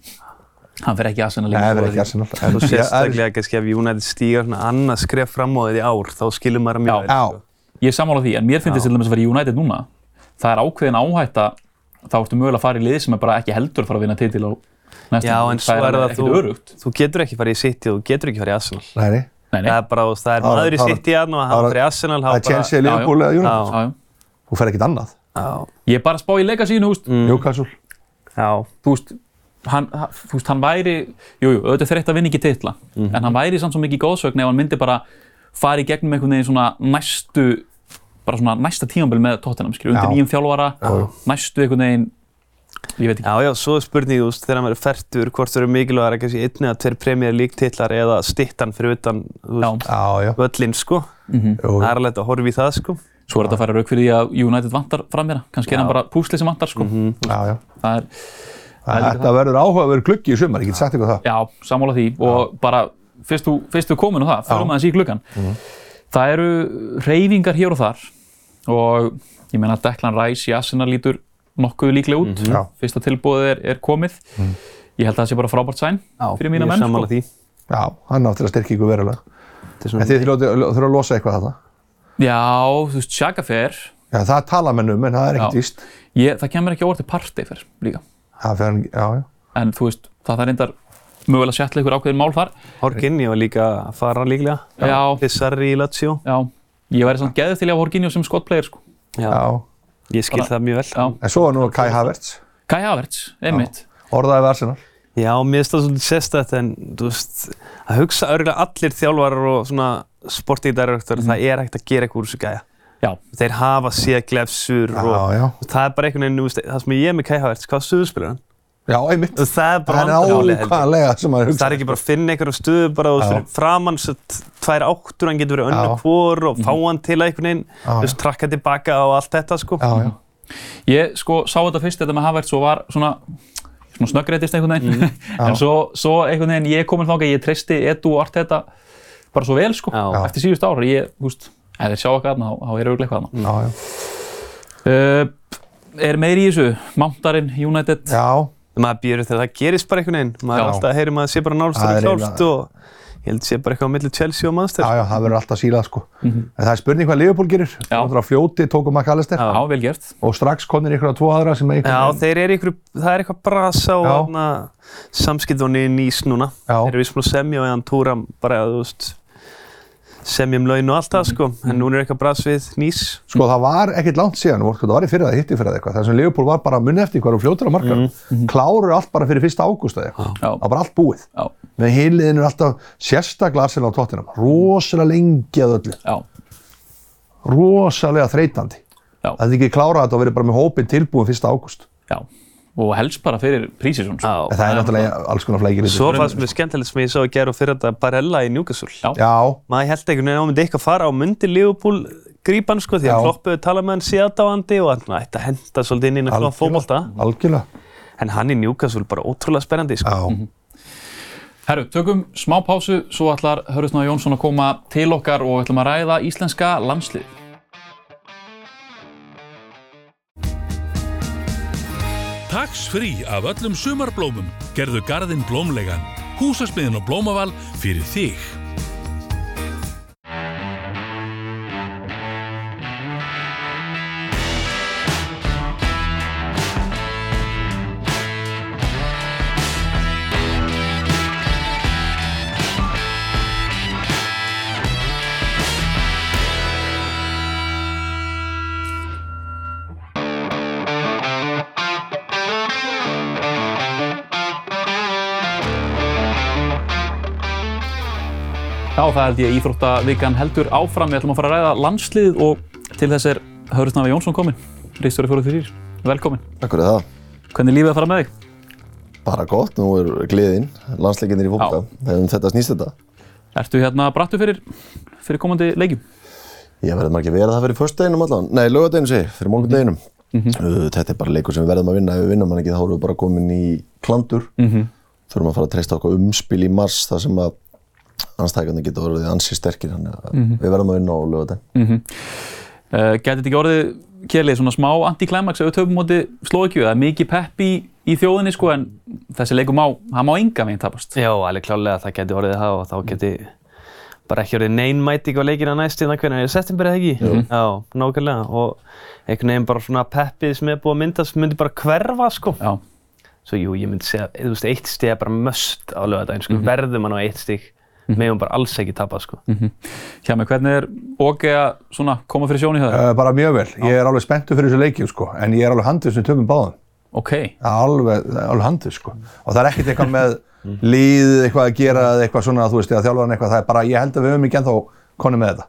B: Hann fer ekki í Arsenal
D: Nei,
B: lengur.
D: það er ekki Arsenal. En,
C: Og sérstaklega kannski ef United stígar svona annað skref fram á þetta í ár, þá skilur maður að mjög vel,
D: Já,
C: sko.
B: Ég er sammála því, en mér finnst þess að vera í United núna. Það er ákveðin áhætta, þá ertu mögulega að fara í lið sem er bara ekki heldur að fara að vinna titil á næsta.
C: Já, en svo er það
B: þú...
C: þú,
B: örugt.
C: þú getur ekki farið í City og þú getur ekki farið í Arsenal.
D: nei, nei.
B: Nei, nei.
C: Það er bara, þú veist, það er
D: Ára-
C: maður í
D: ára-
C: City hann og hann
D: ára-
C: farið í Arsenal,
D: Það
C: hann
D: er
B: já,
D: Chelsea,
B: já.
D: Liverpool eða United.
B: Já, já.
D: Þú fer ekkert annað.
C: Já,
B: Ég er bara að spá í leikasínu, húst.
D: Newcastle.
C: já,
B: Þú veist, hann, hann- þú veist, hann væri, jú, jú, auðvitað þreytt að vinna ekki titla, en hann væri samt svo mikið góðsögn ef hann myndi bara fara í gegnum einhvern veginn svona næstu, bara svona næsta tímanbili með Tottenham, skilju, undir
D: Já.
B: nýjum þjálfara, næstu einhvern veginn, ég veit ekki,
C: já, já, svo er spurning, þú veist, þegar maður er fertur, hvort það eru mikilvægara kannski einn eða tveir Premier League titlar eða stittan fyrir utan, þú
B: já,
C: veist,
D: Já, já.
C: völlinn, sko.
D: Jú,
C: Það er alveg hægt að horfa í það, sko.
B: Mhm. svo er þetta að fara rauk fyrir því að United vantar fram hérna, kannski er hann bara púslið sem vantar, sko,
D: já, já.
B: það er, er líka
D: Þetta verður áhugaverður gluggi í sumar, ég get sagt ykkur það.
B: Já, sammála því og bara fyrst þú, fyrst þú komin á það, förum aðeins í gluggan. Það eru reyfingar hér og þar og ég meina að Declan Rice í Arsenal lítur nokkuð líklega út.
D: Já.
B: Fyrsta tilbúið er, er komið. Ég held að það sé bara frábært sæn fyrir mína
C: Ég er
B: menn.
C: sammála því.
D: Já, hann átti að styrkja ykkur verulega.
C: Þetta er
D: En
C: svona-
D: þið þurfa að losa eitthvað þarna.
B: Já, þú veist, Shaka fer.
D: Já, það tala menn um, en það er ekkert
B: Já.
D: víst.
B: Ég, það kemur ekki á orð til partey fer líka.
D: Það fer hann, já, já.
B: En þú veist, það er reyndar mögulega að setla ykkur ákveðin mál þar.
C: Horginni var líka að fara líklega.
B: Já.
C: Pissarri í Lazio.
B: Já, ég væri samt geðið til að Horginjó sem skottplegir sko.
C: Já.
D: já.
C: Ég skil það mjög vel.
B: Já.
D: En svo er nú Kai Havertz,
B: Kai Havertz, einmitt.
D: orðaði við Arsenal.
C: Já, mér finnst það svolítið sérstætt en þú veist, að hugsa örgulega allir þjálfarar og svona sportíðarrektor, það er hægt að gera eitthvað úr þessu gæja.
B: Já,
C: Þeir hafa séð glefsur
D: Já,
C: og
D: já.
C: það er bara einhvern veginn, þú veist, það sem ég er með Kai Havertz, hvað stuðspilur hann?
D: Já, einmitt.
C: Það er bara
D: Það
C: vandamálið, held
D: er
C: ég.
D: ákvæðanlega sem maður
C: Það
D: hugsa.
C: er ekki bara að finna einhverjum stuðu bara þú veist, fyrir framann svo t- tvær áttur, hann getur verið önnu
D: Já. Mhm.
C: hvor og fá hann til að einhvern veginn,
D: Já,
C: þú veist, trakka tilbaka og allt þetta sko.
D: Já, já.
B: Ég sko sá þetta fyrst þetta með Havertz og var svona, svona snöggreitist einhvern veginn en svo, svo einhvern veginn ég komin þáka ég treysti Edu og allt þetta bara svo vel sko
C: Já.
B: eftir síðust ára ég, þú veist, ef þeir sjá eitthvað þarna þá- þá er auðvitað eitthvað
D: Já, já.
B: þarna uh, Er meiri í þessu? Mountarinn, United
D: Já,
C: maður býður þegar það gerist bara einhvern veginn maður er
D: Já.
C: alltaf að heyra maður sé bara nálst
D: Það
C: og
D: er
C: klárt
D: eiginlega-
C: og ég held sé bara eitthvað á milli Chelsea og
D: já,
C: Manchester
D: já, það verður alltaf sílað sko. En það er spurning hvað Liverpool gerir.
B: Já.
D: Það er á fjóti, tókum McAllister
B: Já, vel gert
D: og strax konir ykkur að tvo aðra sem
C: já,
D: eitthvað.
C: þeir eru einhverju, það er eitthvað brasa og
D: Já.
C: hana, samskiptunni í nýs núna
D: Já.
C: þeir eru vissum að semja og eðan túram bara þú veist semja um laun og allt það sko en núna er eitthvað bras við nýs
D: Sko það var ekkert langt síðan, voru- sko, það var í fyrir það, hitti fyrir það eitthvað. Þess að Liverpool var bara munni eftir hverju fljótur á markanum. Klárur allt bara fyrir 1. ágúst eða eitthvað.
B: Já.
D: Það var bara allt búið.
B: Já,
D: Með heiliðinu alltaf sérstaklega Arsenal og Tottenham. Rosalega lengi að öllu.
B: já,
D: Rosalega þreytandi.
B: Já.
D: Það er ekki klárað þetta og verið bara með hópin tilbúin 1. ágúst.
B: já og helst bara fyrir prísisum sko.
D: En það er náttúrulega alls konar flækir í þessu.
C: svo fannst mér skemmtilegt sem ég sá að gera og fyrir þetta Barella í Newcastle
B: Já.
D: Já,
C: maður held einhvern veginn að hann myndi eitthvað fara á myndi Liverpool grípan sko því
D: Já.
C: að floppuðu tala með hann síðadáandi og hann ætti að henda svolítið inn í svona
D: Algjörlega.
C: fókbalta
D: algjörlega.
C: en hann í Newcastle bara ótrúlega spennandi sko.
D: Já.
B: Herru, tökum smá pásu svo ætlar Hörðusná Jónsson að koma til okkar og ætlum að ræða íslenska landslið
A: Taks frí af öllum sumarblómum gerðu garðinn blómlegan. Húsasmiðin og blómaval fyrir þig.
B: Já, það held ég að Íþróttavikan heldur áfram. Við ætlum að fara að ræða landslið og til þess er Hörðsnafi Jónsson kominn, Ristjóri fjóruð þrýr. Velkomin.
E: Takk fyrir það.
B: Hvernig er lífið að fara með þig?
E: Bara gott, nú er gleðin, landsleikinnir í fólkta. Um þetta snýst þetta.
B: Ertu hérna brattu fyrir, fyrir komandi leikjum?
E: Ég verði margir verið að það fyrir föstudeginum allan. Nei, lögadeginum segi, ég, fyrir morgundeginum. uh, þetta er bara leikur sem við verðum að vinna ef við vinnum hann ekki þá erum við bara komin í klandur þurfum að fara að treysta okkar umspil í mars þar sem að anstækjarnir geta orðið ansi sterkir þannig að við verðum að vinna á lögutinn
B: Uh, Gæti þetta ekki orðið, Kjelið, svona smá antiklæmaks ef við töfum móti Slovakíu? Það er mikið pepp í, í þjóðinni sko en þessi leikum á, hann má enga veginn tapast.
C: Já, alveg klálega það geti orðið það og þá
E: Mm.
C: geti bara ekki orðið nein mæting á leikina næst innan hvernig er september eða ekki? Já, nákvæmlega og einhvern veginn bara svona peppið sem er búið að myndast myndi bara hverfa sko.
B: Já,
C: Svo jú, ég myndi segja, þú veist, eitt stig er bara möst á lögadaginn sko,
E: Mhm.
C: verðum að ná eitt stig, meðum bara alls ekki tapa sko.
E: Mm.
B: mhm. hjá mig, hvernig er OK að svona koma fyrir sjónu hjá þér?
D: Uh, bara mjög vel. Ég er alveg spenntur fyrir þessu leikjum sko, en ég er alveg handið sem töfum báðum.
B: OK,
D: Það er Alveg, það er alveg handið sko. Og það er ekkert eitthvað með
C: Mhm.
D: líð, eitthvað að gera, eða eitthvað svona, þú veist, eða þjálfan eitthvað. Það er bara, ég held að við höfum ekki ennþá konum með þetta.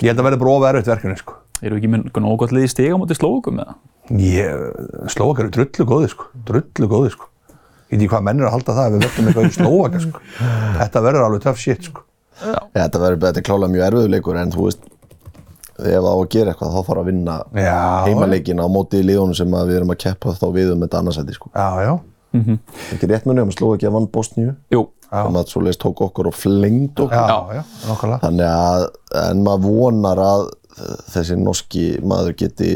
D: Ég held að verði bara of erfitt verkefni sko.
B: eru við ekki með nógu gott liði stiga móti Slovakum eða?
D: Ég, Slóakar eru drullu góði sko, drullu góði sko. Ég veit ekki hvað menn eru að halda það ef við verðum eitthvað í Slóakar sko. Þetta verður alveg töff shit sko.
E: ja, þetta verður þetta er klálega mjög erfiður leikur en þú veist ef það á að gera eitthvað þá þarf að vinna
D: Já.
E: heimaleikina á móti í liðunum sem að við erum að keppa þá við um þetta annarsæti sko.
D: Já, já.
E: ekki rétt munið, maður sló ekki að vann Bosníu
B: Jú,
E: þannig að svo leist tók okkur og flengd okkur
D: Já, já, nokkulega.
E: þannig að en maður vonar að þessi norski maður geti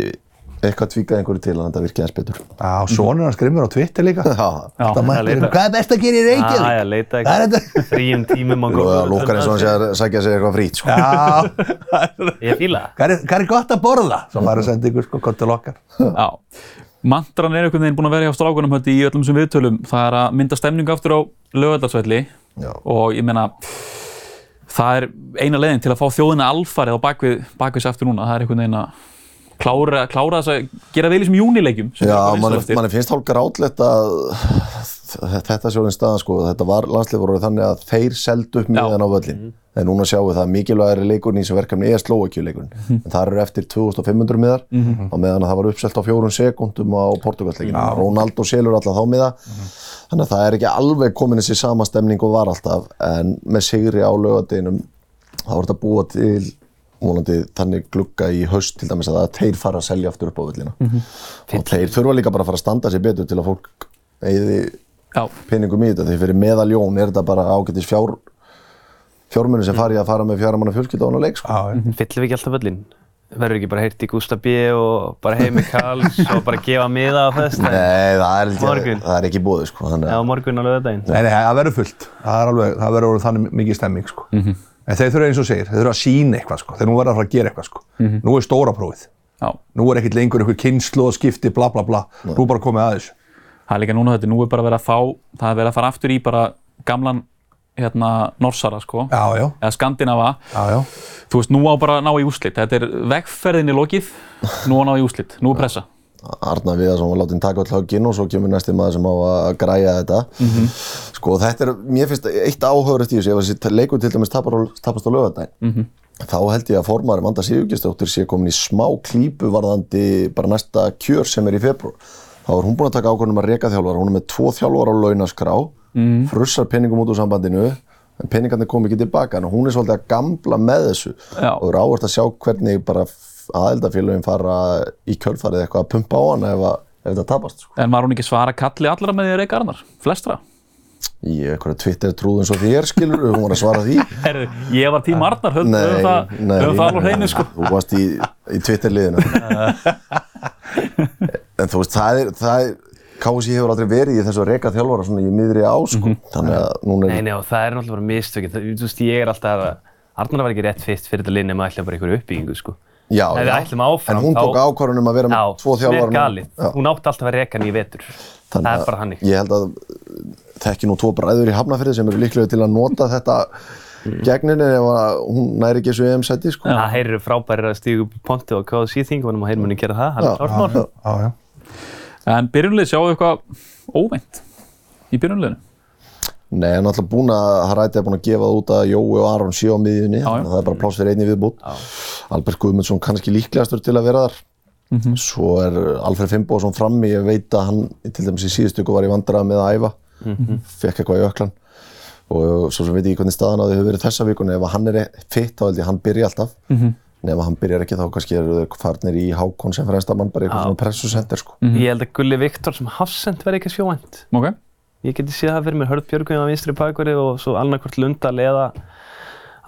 E: eitthvað tvíkað einhverju til að þetta virki aðeins betur
D: Já, sonur hans grimmur á Twitter líka.
E: já,
D: Þetta mættir hérna, hvað er best að gera í Reykjavík?
C: Já, já, leita
D: Það er
C: eitthvað,
D: þetta.
C: fríum tímum á
E: og lókar eins og hann sé að sækja sér eitthvað frýtt sko.
D: Já,
C: Ég fíla það.
D: hvað er, hvað er gott að borða? Svo maður er að senda ykkur sko, gott til okkar.
B: já. Mantran er einhvern veginn búin að vera hjá strákunum þetta í öllum sem viðtölum. Það er að mynda stemningu aftur á lögöldarsvelli
E: Já.
B: og ég meina það er eina leiðin til að fá þjóðina alfarið á bakvið, bakvið sér aftur núna. Það er einhvern veginn að klára, klára þess að gera vel í þessum júnilegjum. sem
E: já,
B: eru bara listaðir
E: manni
B: eftir.
E: mann finnst hálf grátlegt að þetta sjóðin staðan sko, þetta var landslið voru þannig að þeir seldu upp miðan á völlin
B: Mhm.
E: en núna sjáum við það mikilvægari leikurinn í þessu verkefni er Slovakjuleikurinn
B: Mhm.
E: en það eru eftir 2500 miðar á meðan að það var uppselt á fjórun sekundum á Portugalsleikinu,
B: Mhm.
E: Ronaldo selur alla þá miða þannig að það er ekki alveg komin þessi sama stemning og var alltaf en með sigri á lögadeinum þá var þetta að búa til vonandi þannig glugga í haust til dæmis að þeir fara að selja aftur upp á völlina
B: Mhm.
E: og þeir þurfa líka bara að fara að standa sér betur til að fólk eigði
B: Já,
E: peningum í þetta því fyrir meðaljón er þetta bara ágætis fjár fjármunni sem fari að fara með fjármanna fjölskylda á hann að leik sko.
D: Já, já.
C: Fyllum við ekki alltaf völlin? Verður ekki bara heyrt í Gústa B og bara heimi Karls og bara gefa miða á föðstæðin?
E: Nei, það er, ekki,
C: Morgun.
E: það er ekki búið sko, þannig
C: Já,
E: að
C: morgun á lögadaginn.
D: Nei, nei, það verður fullt. Það, er alveg, það verður orðið þannig mikið stemming, sko. En þeir þurfa eins og þú segir, þeir þurfa að sína eitthvað, sko. Þeir nú verða að fara að gera eitthvað, sko. Nú er stóra prófið.
B: já.
D: Nú er ekkert lengur einhver kynslu og skipti, bla, bla, bla. Nú er bara komið að þessu.
B: Það er líka núna þetta, nú er bara verið að fá, það er verið að fara aftur í bara gamlan hérna, norsara sko.
D: Já, já,
B: Eða skandinava.
D: já, já.
B: Þú veist, nú á bara að ná í úslit. Þetta er vegferðinni lokið, nú á að ná í úslit. Nú er pressa.
E: Arna Viðarsson var látin taka öll höggin og svo kemur næsti maður sem á að græja þetta
C: Mhm.
E: sko þetta er, mér finnst eitt áhugurist í þessu, ef þessi leikur til dæmis tapar á- tapast á lögadaginn
C: Mhm.
E: þá held ég að formari Vanda Sigurgistóttir sé komin í smá klípu varðandi bara næsta kjör sem er í februar þá er hún búin að taka ákvörðum að reka þjálfara hún er með tvo þjálfara á launaskrá frussar peningum út úr sambandinu en peningarnir kom ekki tilbaka en hún er svolítið að gamla með þessu
B: Já.
E: og er áherslu að sjá hvernig bara aðeldafélagin fara í kjölfarið eitthvað að pumpa á hana ef, að, ef það tapast sko.
B: En var hún ekki að svara kalli allra með því að reyka arnar? Flestra?
E: í eitthvað Twitter trúðum svo þér skilur hún var að svara því
B: Herru, ég var
E: Ah,
B: tíma arnar, höfum höfum það, höfum það alveg hreinu sko.
E: Þú varst í, í Twitter-liðinu. en þú veist, það er, það er, KSI hefur aldrei verið í þessu að reka þjálfara svona í miðri á, sko. Þannig að núna
C: Mhm. Nei,
E: er,
C: nei, og það er náttúrulega bara mistökið. Það- Þú veist, ég er alltaf að... Arnar var ekki rétt fyrst fyrir þetta lið nema ætla bara einhverju uppbyggingu, sko.
E: já,
C: Ef við ætlum áfram,
E: en hún
C: þá-
E: tók ákvarðunum að vera með
C: Já,
E: tvo
C: sem er
E: þjálfara.
C: galið. Hún átti alltaf að reka hann í vetur. það er bara hannig.
E: Ég held að uh, þekki nú tvo bræður í Hafnafyrði sem eru líklega til að nota þetta
C: Mm.
E: gegninni ef að hún næri ekki þessu EM-seti, sko.
C: Það heyrir frábærir að stígu upp í pontu og káða síþingunum og heyrir munni gera það. Það er klart mál.
D: Já, já.
B: En byrjunlið sjáu eitthvað óvænt í byrjunliðinu.
E: Nei, hann er alltaf búin að, hann ræti að búin að gefa það út að Jói og Aron séu á miðjunni,
B: já.
E: þannig að það er bara pláss fyrir einni viðbútt. Albert Guðmundsson kannski líklegastur til að vera þar. Svo er Alfred Fimboðsson frammi, ég veit að hann til dæmis í síðustu ykkur var í vandræða með að æfa, fekk eitthvað í öklan. Og svo sem veit ég ekki hvernig staðan á því hefur verið þessa vikuna, ef hann er fitt þá held ég að hann byrja alltaf. nema hann byrjar ekki þá kannski eru þeir farnir í Hákon sem fremsta mann bara í
C: Já.
E: eitthvað svona pressusender sko.
C: Ég held að Gulli Viktor sem hafsend verði ekki sjóvænt.
B: Ok,
C: Ég geti séð það fyrir mér Hörð Björgvin á vinstri bakverði og svo annarkvort Lundal eða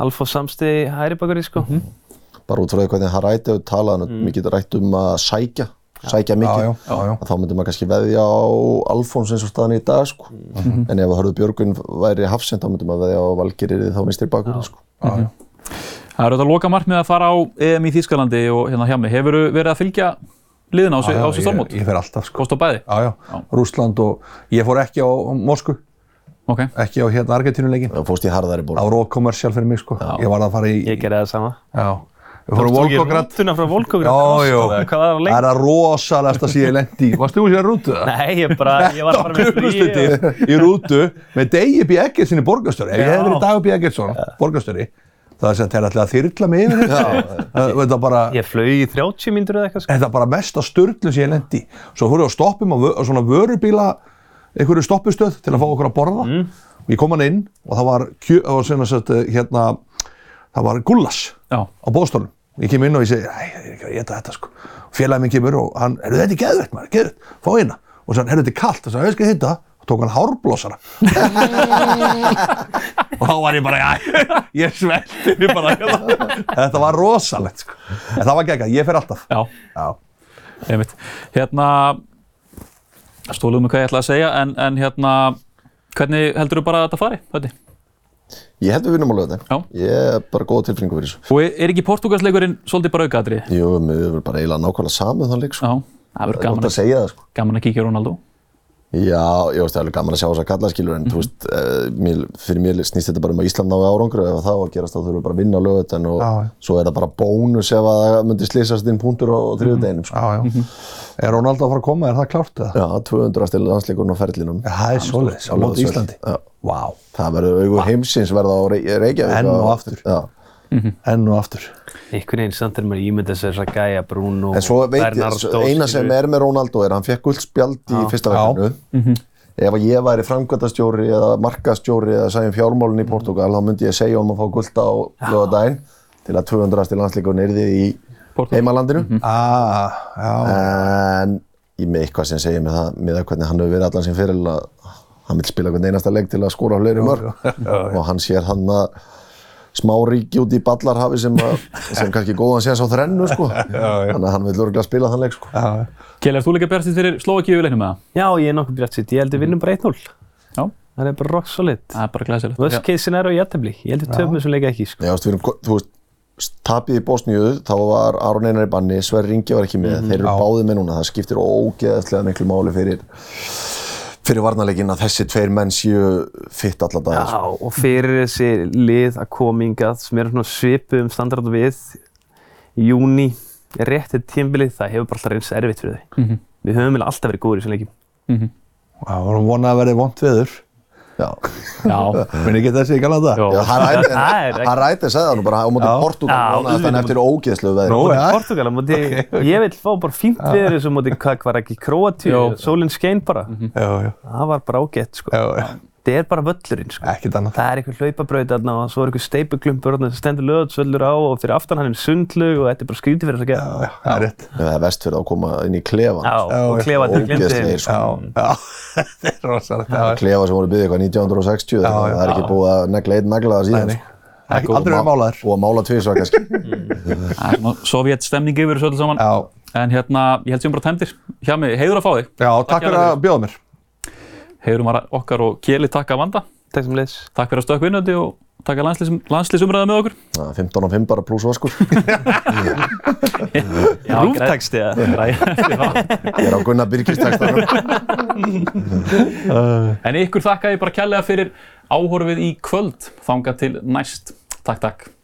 C: Alfons Samstiði hægri bakverði sko.
E: bara út frá því hvernig hann ræti og talaði mm. mikið rætt um að sækja sækja mikið,
D: Já, já, já, já.
E: að þá myndum maður kannski veðja á Alfons eins og staðan í dag sko. en ef að Hörður Björgun væri hafsend þá myndum maður veðja á Valgerir þá minnst þér bakur sko.
B: það eru þetta loka markmið að fara á EM í Þýskalandi og hérna hjá mig. Hefur verið að fylgja liðin á þessu-
E: Ah,
B: á þessu þormót?
D: Ég, ég fer alltaf sko.
B: Kost á bæði?
D: Já, já, Rússland og ég fór ekki á Moskvu,
B: Ok,
D: ekki á hérna Argentínuleikin.
E: það fóst í harðari
D: Það
E: ból
D: var ókommersial fyrir mig sko. Ég var að fara í...
C: Ég gerði það sama.
D: Já. Við fórum Volkograd.
C: Rútuna frá Volkograd.
D: Já,
C: Hvað
D: já.
C: var að
D: Það
C: leika?
D: er að rosalegast að sé ég lendi í. Varst þú sér rútu það?
C: Nei, ég bara, ég var bara með flugi og-
D: klukkustundir í rútu með Degi B. Eggertsen í borgarstjóri. Ef ég hefði
C: Já.
D: verið Dagur B. Eggertsson, borgarstjóri, það er sem þeir ætlaði að þyrla mig yfir þetta. Það- Þetta bara,
C: Ég flög í 30 mínútur eða eitthvað sko.
D: þetta bara mesta sturglun sem ég lendi. Svo fórum við á stoppum á, vö- á svona vörubíla, einhverju stoppustöð til að fá okkur að borða.
C: Mm.
D: Og ég kom hann inn og það var, kjö, það var sem sagt, eh, hérna, það var gullas
B: já.
D: á bóðstólum. Ég kem inn og ég segi, æ, ég er ekki að geta þetta sko. Félagin minn kemur og hann, er þetta er geðveitt maður, geðveitt, fá hérna. Og svo hann, er þetta er kalt, þess að ég skal hitta, og tók hann hárblósara. og þá var ég bara, æ, ég svelti mig bara. hérna. þetta var rosalegt sko. En það var geggjað, ég fer alltaf.
B: já.
D: Já.
B: Einmitt. Hérna, stóluðum við hvað ég ætlaði að segja, en, en hérna, hvernig heldur þú bara að þetta fari? Þetta?
E: ég held við vinnum á lögðin,
B: Já.
E: ég er bara góð tilfinningu fyrir þessu
B: Og er- er ekki portugalsleikurinn svolítið bara aukaðri?
E: jú, við erum bara eiginlega nákvæmlega saman þann leik
B: Já,
E: sko.
B: það verður
E: það er gott
B: gaman,
E: að segja það sko.
B: að- gaman að kíkja á Ronaldo.
E: Já, ég veist, það er alveg gaman að sjá þess að kalla skilur en þú veist, eh, mér, fyrir mér snýst þetta bara um að Ísland nái árangur og ef það á að gerast þá þurfum við bara að vinna lögutin og
D: Já, já.
E: svo er það bara bónus ef að það myndi slýsast inn punktur á, á þriðudeginum sko.
D: Já, já. Er Ronaldo að fara að koma, er það klárt eða?
E: Já, 200 stil landsleikurinn á ferlinum
D: Já, það er svoleiðis, á móti Íslandi.
E: Já.
D: Vá,
E: Það verður augur heimsins verða á Rey- Reykjavík
D: Ah. Enn og
E: Já.
D: aftur.
E: Já.
D: enn og aftur.
C: Einhvern veginn samt er maður ímyndið sér þess að gæja Bruno
E: En svo veit ég,
C: Bernardo,
E: svo- eina sem
C: skilurðu.
E: er með Ronaldo er að hann fekk guldspjald í fyrsta
D: Já.
E: verkefnu Ef að ég væri framkvæmdastjóri eða markastjóri eða sæjum fjármálun í Portugal þá myndi ég segja um að fá guld á lögadaginn til að 200. landsleikurinn yrði í
B: Portugal.
E: heimalandinu
D: Ah, já.
E: en ég með eitthvað sem segir með það með að hvernig hann hefur verið allan sem fyrir að hann vil spila hvern einasta leik til að skora fleiri mörg og hann sér hann að smá ríki út í ballarhafi sem, að, sem kannski góðan séns á þrennu sko. þannig að hann vil örgulega spila þann leik sko.
D: Já,
B: Kjell, er þú líka bjartist fyrir Slovakíu í leiknum með það?
C: Já, ég er nokkuð bjart sitt. Ég held við vinnum bara 1-0.
B: Já.
C: Það er bara rock solid.
B: Það er bara
C: Worst
B: glæsilegt.
C: case scenario í jættabli. Ég held við töfum þessum leika ekki, sko.
E: Já, veist, við erum, þú veist, tapið í Bosníu, þá var Aron Einar í banni, Sverri Ingi var ekki með, þeir eru báði með núna, það skiptir ógeðslega miklu máli fyrir fyrir varnarleikin að þessi tveir menn séu fitt alla daga.
C: Já,
E: sko.
C: og fyrir þessi lið að koma ingað sem er svona svipuð um standard og við í júni, rétt til tímbilið, það hefur bara alltaf reynst erfitt fyrir þau.
E: Mhm.
C: Við höfum vel alltaf verið góður í þessum leikim.
D: það vorum vonað að verði vont veður.
E: Já.
B: Já,
D: Minn ekki þessi í Galanda?
B: Jó.
E: Já,
C: Það er ekki-
E: hann rætið sagði það nú bara á móti
D: Já.
E: Portugal,
C: Já,
E: þannig að þannig
C: auðvitað.
E: eftir ógeðslegu veðri.
D: Nú,
C: Móti
D: já.
C: Portugal, móti, ég vil fá bara fínt viður eins og móti, hvað hvað var ekki,
B: Jó.
C: Kroatíu, sólinn skein bara.
D: Já, já.
C: Það var bara ágætt, sko.
D: Já, já.
C: Það er bara völlurinn, sko.
D: Ekkert annað.
C: Það er einhver hlaupabraut þarna og svo er einhver steipuglumpur þarna sem stendur löðsvöllur á og fyrir aftan hann er sundlug og þetta er bara skrítið fyrir þess að gera.
D: Já, já, það er rétt.
E: Ef Það er vest fyrir að koma inn í klefan.
C: Já,
D: Já,
C: og
D: já.
C: klefa til
E: Ógeðslegir,
C: glindið.
E: sko.
D: Já, já, þetta er rosalegt. Já,
E: Klefa sem voru byggðið eitthvað 1960, já,
D: já.
E: það er ekki búið að negla einn nagla það
D: Nei,
E: síðan.
D: nei.
E: sko.
D: Ekki-
E: Og
D: Aldrei verið
E: ma-
D: málaður.
E: Og að mála tvísvar kannski.
B: það er svona sovjet stemning yfir þessu öllu saman.
D: Já,
B: En hérna, ég held sem bara tæmdir. Hjá mig, heiður að fá þig.
D: já takk fyrir að bjóða mér.
B: Heiður um okkar og Kjeli takk að vanda.
C: Takk sem leys.
B: Takk fyrir að stökk vinnandi og takk að landslýsumræða með okkur.
E: Já, 15 og 5 bara sko. pluss vaskur.
B: Já, grei-
C: Rúftaksti eða?
E: Ég er á Gunnar Birgistakstanum.
B: En ykkur þakka ég bara kærlega fyrir áhorfið í kvöld, þanga til næst. Takk, takk.